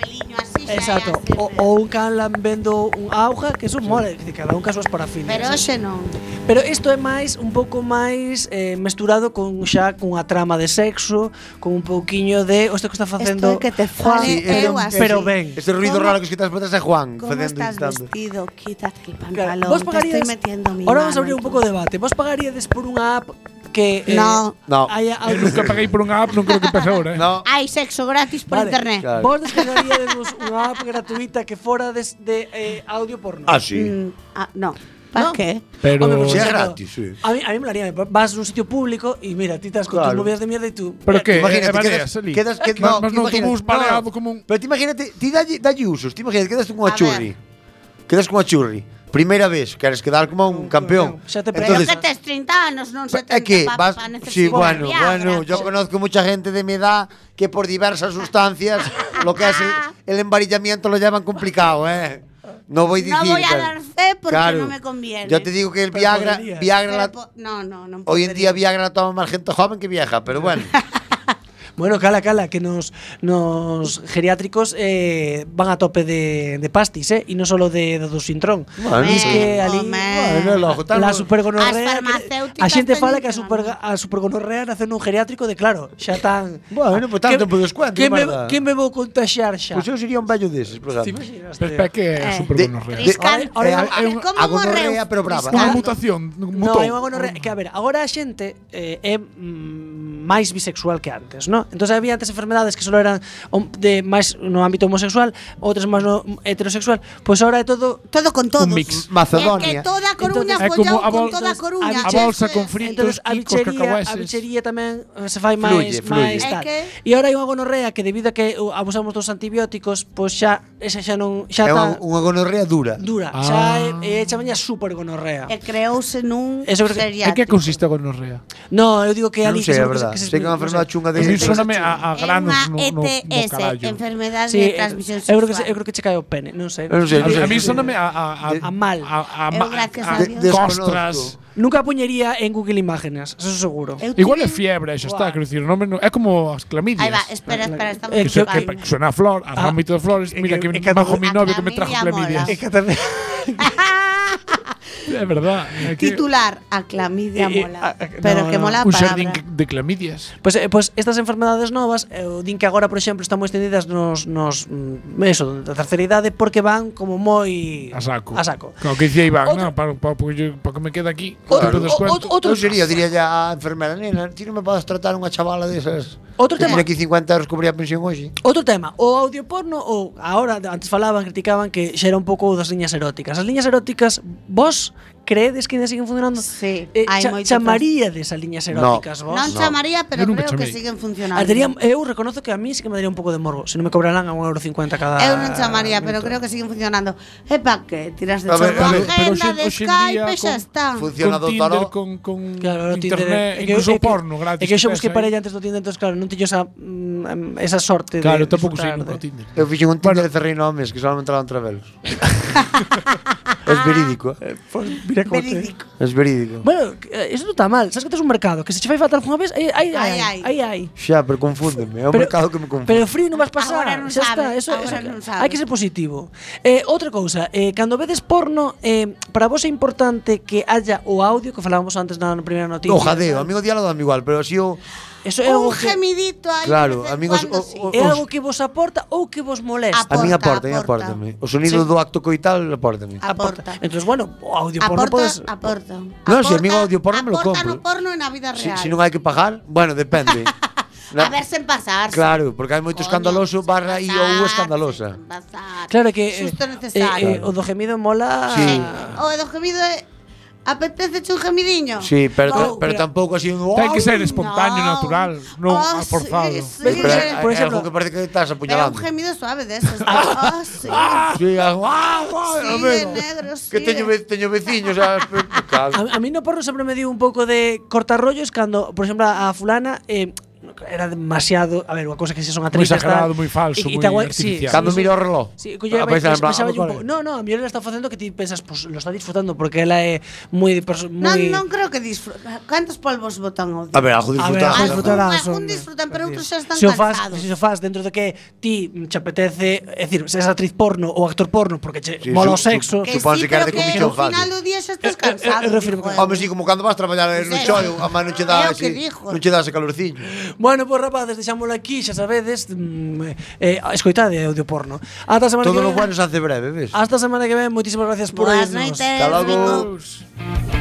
Speaker 6: Exacto. Ou, ou un can lambendo un auga, que eso mola, que cada un caso as parafinas.
Speaker 8: Pero hoxe non.
Speaker 6: Pero isto é máis un pouco máis eh, mesturado con xa cunha trama de sexo, con un pouquiño de o que está facendo.
Speaker 8: Isto é que te fale
Speaker 6: Juan,
Speaker 8: eu así.
Speaker 6: pero ben.
Speaker 4: Ese ruido raro que escutas por detrás é Juan.
Speaker 8: ¿Cómo
Speaker 4: facendo
Speaker 8: estás
Speaker 4: instando.
Speaker 8: vestido? Quítate el
Speaker 6: Claro,
Speaker 8: pantalón.
Speaker 6: vos
Speaker 8: te estoy
Speaker 6: pagaríades
Speaker 8: metiendo mi
Speaker 6: Ahora
Speaker 8: mano
Speaker 6: vamos a abrir un
Speaker 8: en tu-
Speaker 6: pouco de debate. Vos pagaríades por unha app que eh,
Speaker 8: No.
Speaker 4: No. (laughs)
Speaker 6: haya
Speaker 7: Eu
Speaker 6: audio-
Speaker 7: nunca paguei por unha app, non creo que pase ahora, eh.
Speaker 4: No.
Speaker 6: Ah,
Speaker 8: Hay sexo gratis por
Speaker 6: Vale.
Speaker 8: internet.
Speaker 7: Claro.
Speaker 6: Vos descargaríades vos unha app gratuita que fora de, de eh, audio porno.
Speaker 4: Ah, sí.
Speaker 8: Mm, ah, no. ¿Para qué?
Speaker 7: Pero-
Speaker 6: Hombre, por
Speaker 7: Sí, es
Speaker 6: ejemplo,
Speaker 7: gratis, sí.
Speaker 6: A mí, a mí me haría, vas a un sitio público y mira, titas con tus
Speaker 4: Claro.
Speaker 6: movidas de mierda y tú.
Speaker 7: Pero qué,
Speaker 4: Imagínate,
Speaker 7: eh,
Speaker 4: quedas,
Speaker 7: banderas ali.
Speaker 4: quedas, que-
Speaker 7: Mas- mas no
Speaker 4: imagínate-
Speaker 7: autobús baleado como un-
Speaker 4: Pero te imagínate, ti dalle, dalle usos, te imagínate, quedas con unha
Speaker 8: A
Speaker 4: churri. Quedas con unha churri. Primeira vez, queres quedar como un campeón.
Speaker 6: Xa te
Speaker 8: Pero
Speaker 4: Entonces,
Speaker 8: que tes 30 años, no se
Speaker 4: é que vas...
Speaker 8: pa
Speaker 4: Sí,
Speaker 8: necesitar
Speaker 4: bueno,
Speaker 8: Viagra,
Speaker 4: bueno, yo
Speaker 8: po.
Speaker 4: conozco mucha gente de mi edad que por diversas
Speaker 8: (laughs)
Speaker 4: sustancias lo que hace el embarillamiento lo llevan complicado, ¿eh? No voy a
Speaker 8: No
Speaker 4: decir...
Speaker 8: voy a
Speaker 4: pero-
Speaker 8: dar fe porque
Speaker 4: Claro.
Speaker 8: no me conviene.
Speaker 4: Yo te digo que el
Speaker 8: Pero
Speaker 4: Viagra...
Speaker 8: podrías.
Speaker 4: Viagra la-
Speaker 8: Pero po- no, no, no.
Speaker 4: hoy en día Viagra la toma más gente joven que vieja, pero
Speaker 8: (laughs)
Speaker 4: bueno.
Speaker 6: Bueno, cala, cala, que nos, nos geriátricos eh, van a tope de, de pastis, ¿eh? Y no solo de dodosintrón.
Speaker 4: Bueno.
Speaker 6: Y es
Speaker 4: Hombre,
Speaker 6: que ali,
Speaker 4: Bueno, lo ajustamos.
Speaker 6: la supergonorrea...
Speaker 8: As
Speaker 6: que- A xente fala que a, superga, a supergonorrea nace nun geriátrico de claro, xa tan...
Speaker 4: Bueno, pues tanto por descuento,
Speaker 6: Que me,
Speaker 4: merda.
Speaker 6: que me vou contaxar xa?
Speaker 4: Pues
Speaker 6: pois
Speaker 4: yo Pois sería un bello de esos, por ejemplo.
Speaker 7: Pero espera que é
Speaker 6: Eh,
Speaker 7: super gonorrea.
Speaker 6: Ahora-
Speaker 8: Triscante.
Speaker 6: ahora-
Speaker 8: A ver,
Speaker 6: ahora-
Speaker 8: ¿cómo
Speaker 4: agonorrea,
Speaker 8: morreu?
Speaker 4: pero brava.
Speaker 7: Unha
Speaker 6: Claro.
Speaker 7: mutación,
Speaker 6: No,
Speaker 7: mutou.
Speaker 6: é unha gonorrea, que a ver, agora a xente eh, é mm, máis bisexual que antes, ¿no? Entonces había antes enfermedades que solo eran hom- de máis no ámbito homosexual, outras máis no heterosexual, pois ahora é todo
Speaker 8: Todo con todos.
Speaker 7: Un mix.
Speaker 8: Es que toda Coruña
Speaker 7: Entonces- É
Speaker 8: follou
Speaker 7: como a
Speaker 8: con
Speaker 7: bol-
Speaker 8: toda Coruña.
Speaker 7: a bolsa con
Speaker 6: Entonces,
Speaker 7: fritos,
Speaker 6: a
Speaker 7: quicos,
Speaker 6: bichería, a
Speaker 7: cacahueses.
Speaker 6: bichería tamén eh, se fai
Speaker 7: Fluye,
Speaker 6: máis
Speaker 7: fluye.
Speaker 6: máis
Speaker 8: É
Speaker 6: tal.
Speaker 8: que-
Speaker 6: E agora hai unha gonorrea que debido a que uh, abusamos dos antibióticos, pois xa esa xa non xa
Speaker 4: É unha,
Speaker 6: tá
Speaker 4: unha gonorrea dura.
Speaker 6: dura,
Speaker 7: Ah.
Speaker 6: xa é, é chamaña super gonorrea.
Speaker 8: E creouse nun
Speaker 6: Eso creo que-
Speaker 7: É
Speaker 8: serial.
Speaker 7: que consiste a gonorrea?
Speaker 6: No, eu digo que
Speaker 4: Non
Speaker 6: ali
Speaker 4: sei,
Speaker 6: que
Speaker 4: é
Speaker 6: seguro que
Speaker 4: verdad.
Speaker 6: se- que se
Speaker 4: Sei que é unha
Speaker 6: explica, non
Speaker 4: enfermedade
Speaker 6: sei.
Speaker 4: chunga de...
Speaker 7: A mí soname a, a granos no,
Speaker 8: É
Speaker 7: no,
Speaker 8: unha
Speaker 7: no
Speaker 8: ETS,
Speaker 7: carallo.
Speaker 8: enfermedade
Speaker 6: Sí,
Speaker 8: de
Speaker 6: eh,
Speaker 8: transmisión sexual.
Speaker 6: eu creo que se, eu creo que che cae o pene, non sei.
Speaker 4: Eu non sei,
Speaker 7: A,
Speaker 4: non
Speaker 7: mí-
Speaker 4: sei.
Speaker 7: a mí soname a, a, a,
Speaker 6: A mal.
Speaker 7: a, a,
Speaker 8: Eu, gracias a
Speaker 7: a-
Speaker 8: Dios.
Speaker 7: a- costras.
Speaker 6: Nunca puñería en Google Imágenes, eso seguro.
Speaker 8: Eu
Speaker 7: Igual é
Speaker 8: tive-
Speaker 7: fiebre, xa está, quero dicir, non, me- non, é como as clamidias.
Speaker 8: Aí va, espera, espera, estamos
Speaker 7: Que, se- que,
Speaker 8: chupando.
Speaker 7: que suena a flor, a
Speaker 6: Ah,
Speaker 7: ramito de flores,
Speaker 6: é
Speaker 7: mira
Speaker 6: que- é
Speaker 7: que,
Speaker 6: que
Speaker 7: bajo mi
Speaker 8: a
Speaker 7: novio que me trajo
Speaker 8: clamidia
Speaker 7: clamidias.
Speaker 8: mola.
Speaker 6: É que tamén
Speaker 7: (laughs) Es verdad. hay que-
Speaker 8: Titular, a clamidia
Speaker 6: Eh, eh,
Speaker 8: mola.
Speaker 6: a- a-
Speaker 8: Pero
Speaker 6: no,
Speaker 8: que
Speaker 6: no.
Speaker 8: mola a
Speaker 7: Un
Speaker 8: palabra.
Speaker 7: xardín de clamidias.
Speaker 6: Pois eh, pois estas enfermedades novas, eu din que agora, por exemplo, están moi extendidas nos nos mm, eso, da terceira idade porque van como moi
Speaker 7: A saco.
Speaker 6: A saco.
Speaker 7: Como que dicía Iván, no, para, para, porque yo- para que me quede aquí. Tipo descuento.
Speaker 4: eu sería, diría ya a enfermera, nena, ti non me podes tratar unha chavala desas.
Speaker 6: Outro
Speaker 4: que
Speaker 6: tema.
Speaker 4: Tiene aquí 50 euros cubría a pensión hoxe.
Speaker 6: Outro tema, o audio porno ou agora antes falaban, criticaban que xa era un pouco das liñas eróticas. As liñas eróticas, vos credes que ainda siguen funcionando? Sí,
Speaker 8: hai
Speaker 6: cha,
Speaker 8: moitas.
Speaker 6: chamaríades as liñas eróticas vos?
Speaker 8: Non chamaría, pero
Speaker 6: Eu nunca
Speaker 8: creo que
Speaker 6: chamei.
Speaker 8: siguen funcionando.
Speaker 6: Ah, tería- eu reconozo que a mí sí que me daría un pouco de morbo, se non me cobrarán a 1,50€ cada
Speaker 8: Eu non chamaría, pero creo que siguen funcionando. E pa que tiras de
Speaker 6: A ver,
Speaker 8: chorro
Speaker 6: a ver,
Speaker 7: pero
Speaker 8: agenda
Speaker 7: hoxe-
Speaker 8: de
Speaker 7: hoxe en
Speaker 8: Skype
Speaker 7: día
Speaker 8: e xa
Speaker 7: con-
Speaker 8: está.
Speaker 7: Funciona con Tinder, con, con
Speaker 6: Claro, Tinder,
Speaker 7: internet,
Speaker 6: é que-
Speaker 7: incluso
Speaker 6: é que-
Speaker 7: porno gratis.
Speaker 6: É que eu
Speaker 7: tes
Speaker 6: busquei
Speaker 7: aí.
Speaker 6: parella antes do Tinder, entonces claro, non teño esa mm, em, esa sorte de
Speaker 7: Claro, tampouco
Speaker 6: disfrutar
Speaker 7: sei nunca
Speaker 6: de- (laughs)
Speaker 7: o Tinder.
Speaker 4: Eu fixen un Tinder de Ferreiro Homes que só me entraban travelos. es verídico. eh.
Speaker 6: Mira como te-
Speaker 4: Es verídico.
Speaker 6: Bueno, eh, iso non está mal. Sabes que tes un mercado que se che fai fatal unha vez, eh, aí aí aí, aí, aí.
Speaker 4: Xa, pero confúndeme, é un
Speaker 6: Pero-
Speaker 4: mercado que me confunde.
Speaker 6: Pero frío non vas pasar.
Speaker 8: Agora non
Speaker 6: xa está,
Speaker 8: sabe,
Speaker 6: eso,
Speaker 8: agora
Speaker 6: eso,
Speaker 8: non sabe.
Speaker 6: Hai que ser positivo. Eh, outra cousa, eh, cando vedes porno, eh, para vos é importante que haya o audio que falábamos antes na primeira noticia.
Speaker 4: O jadeo, amigo diálogo dame igual, pero si eu
Speaker 6: Eso é algo que,
Speaker 8: gemidito aí.
Speaker 4: Claro, amigos, o, o,
Speaker 6: é algo
Speaker 4: o,
Speaker 6: que vos aporta ou que vos molesta.
Speaker 4: a min aporta, a min apórtame. O sonido
Speaker 6: Sí.
Speaker 4: do acto coital apórtame.
Speaker 8: Aporta.
Speaker 6: Entonces, bueno, o audio porno
Speaker 8: Aporta,
Speaker 6: podes
Speaker 8: aporta.
Speaker 4: Non, si amigo audio porno me lo
Speaker 8: Aporta
Speaker 4: compro.
Speaker 8: no porno e na vida
Speaker 4: Si,
Speaker 8: real.
Speaker 4: si non hai que pagar, bueno,
Speaker 8: (laughs)
Speaker 4: depende.
Speaker 8: A ver sen pasarse.
Speaker 4: Claro, porque hai moito escandaloso barra I ou escandalosa.
Speaker 6: Claro que
Speaker 8: Susto
Speaker 6: eh, eh,
Speaker 8: necesario.
Speaker 6: o do gemido mola.
Speaker 4: Sí.
Speaker 8: O do gemido é apetece un gemidinho.
Speaker 4: Sí, pero, ta-
Speaker 8: Oh,
Speaker 4: pero tampouco así un
Speaker 7: Ten que ser espontáneo, natural, non
Speaker 8: Oh, sí,
Speaker 7: forzado.
Speaker 8: sí. Pero,
Speaker 4: Pero,
Speaker 8: eh,
Speaker 4: por exemplo,
Speaker 8: por exemplo-
Speaker 4: que parece que estás
Speaker 8: Pero un
Speaker 4: apuñalando.
Speaker 8: gemido suave
Speaker 4: (laughs)
Speaker 8: deses. Ah, sí.
Speaker 4: Sí, algo, ah, ah,
Speaker 8: Sí,
Speaker 4: amigo,
Speaker 8: de negro, sí.
Speaker 4: que teño, ve- teño veciños,
Speaker 8: (laughs)
Speaker 4: sabes, pero- claro.
Speaker 6: A, a mí no porno sempre me dio un pouco de cortarrollos cando, por exemplo, a a fulana eh, era demasiado, a ver, unha cousa que se son atletas
Speaker 7: exagerado, moi falso, moi artificial. Cando miro o reloj,
Speaker 6: Sí, colla,
Speaker 7: a
Speaker 6: me,
Speaker 7: pensar
Speaker 6: me,
Speaker 7: en plan,
Speaker 6: pensaba
Speaker 7: "Ah,
Speaker 6: yo un
Speaker 7: vale".
Speaker 6: pouco. No, no, a mellor ela está facendo que ti pensas, pues, lo está disfrutando porque ela é moi de perso-
Speaker 8: Non,
Speaker 6: moi
Speaker 8: non creo que disfrutan. Cantos polvos botan ao día?
Speaker 4: A ver, algo disfrutar.
Speaker 6: algo disfrutará, son-
Speaker 8: Algún disfrutan, pero outros xa están
Speaker 6: Se o faz,
Speaker 8: cansados.
Speaker 6: se o faz dentro de que ti mm, che apetece, é dicir, se és actriz porno ou actor porno porque che
Speaker 4: Sí,
Speaker 6: mola o
Speaker 4: su- su-
Speaker 6: sexo.
Speaker 4: Que suponse sí, que era de pero que comisión ao fácil. final
Speaker 8: do día
Speaker 6: Eh,
Speaker 8: xa estás cansado.
Speaker 4: Home, si, como cando vas traballar en un
Speaker 6: Sí.
Speaker 4: chollo, a máis non che dá
Speaker 6: É o que
Speaker 4: ese,
Speaker 6: dixo.
Speaker 4: non che dá ese calorciño.
Speaker 6: Bueno, pois rapazes, deixámolo aquí, xa sabedes, mm, eh, escoitade audio porno. Ata a semana
Speaker 4: Todo
Speaker 6: que
Speaker 4: lo
Speaker 6: ven.
Speaker 4: bueno se hace breve, ves?
Speaker 6: Hasta a semana que ven, moitísimas gracias por
Speaker 4: Buenas
Speaker 6: oírnos.
Speaker 4: noites, Hasta logo.
Speaker 6: logo.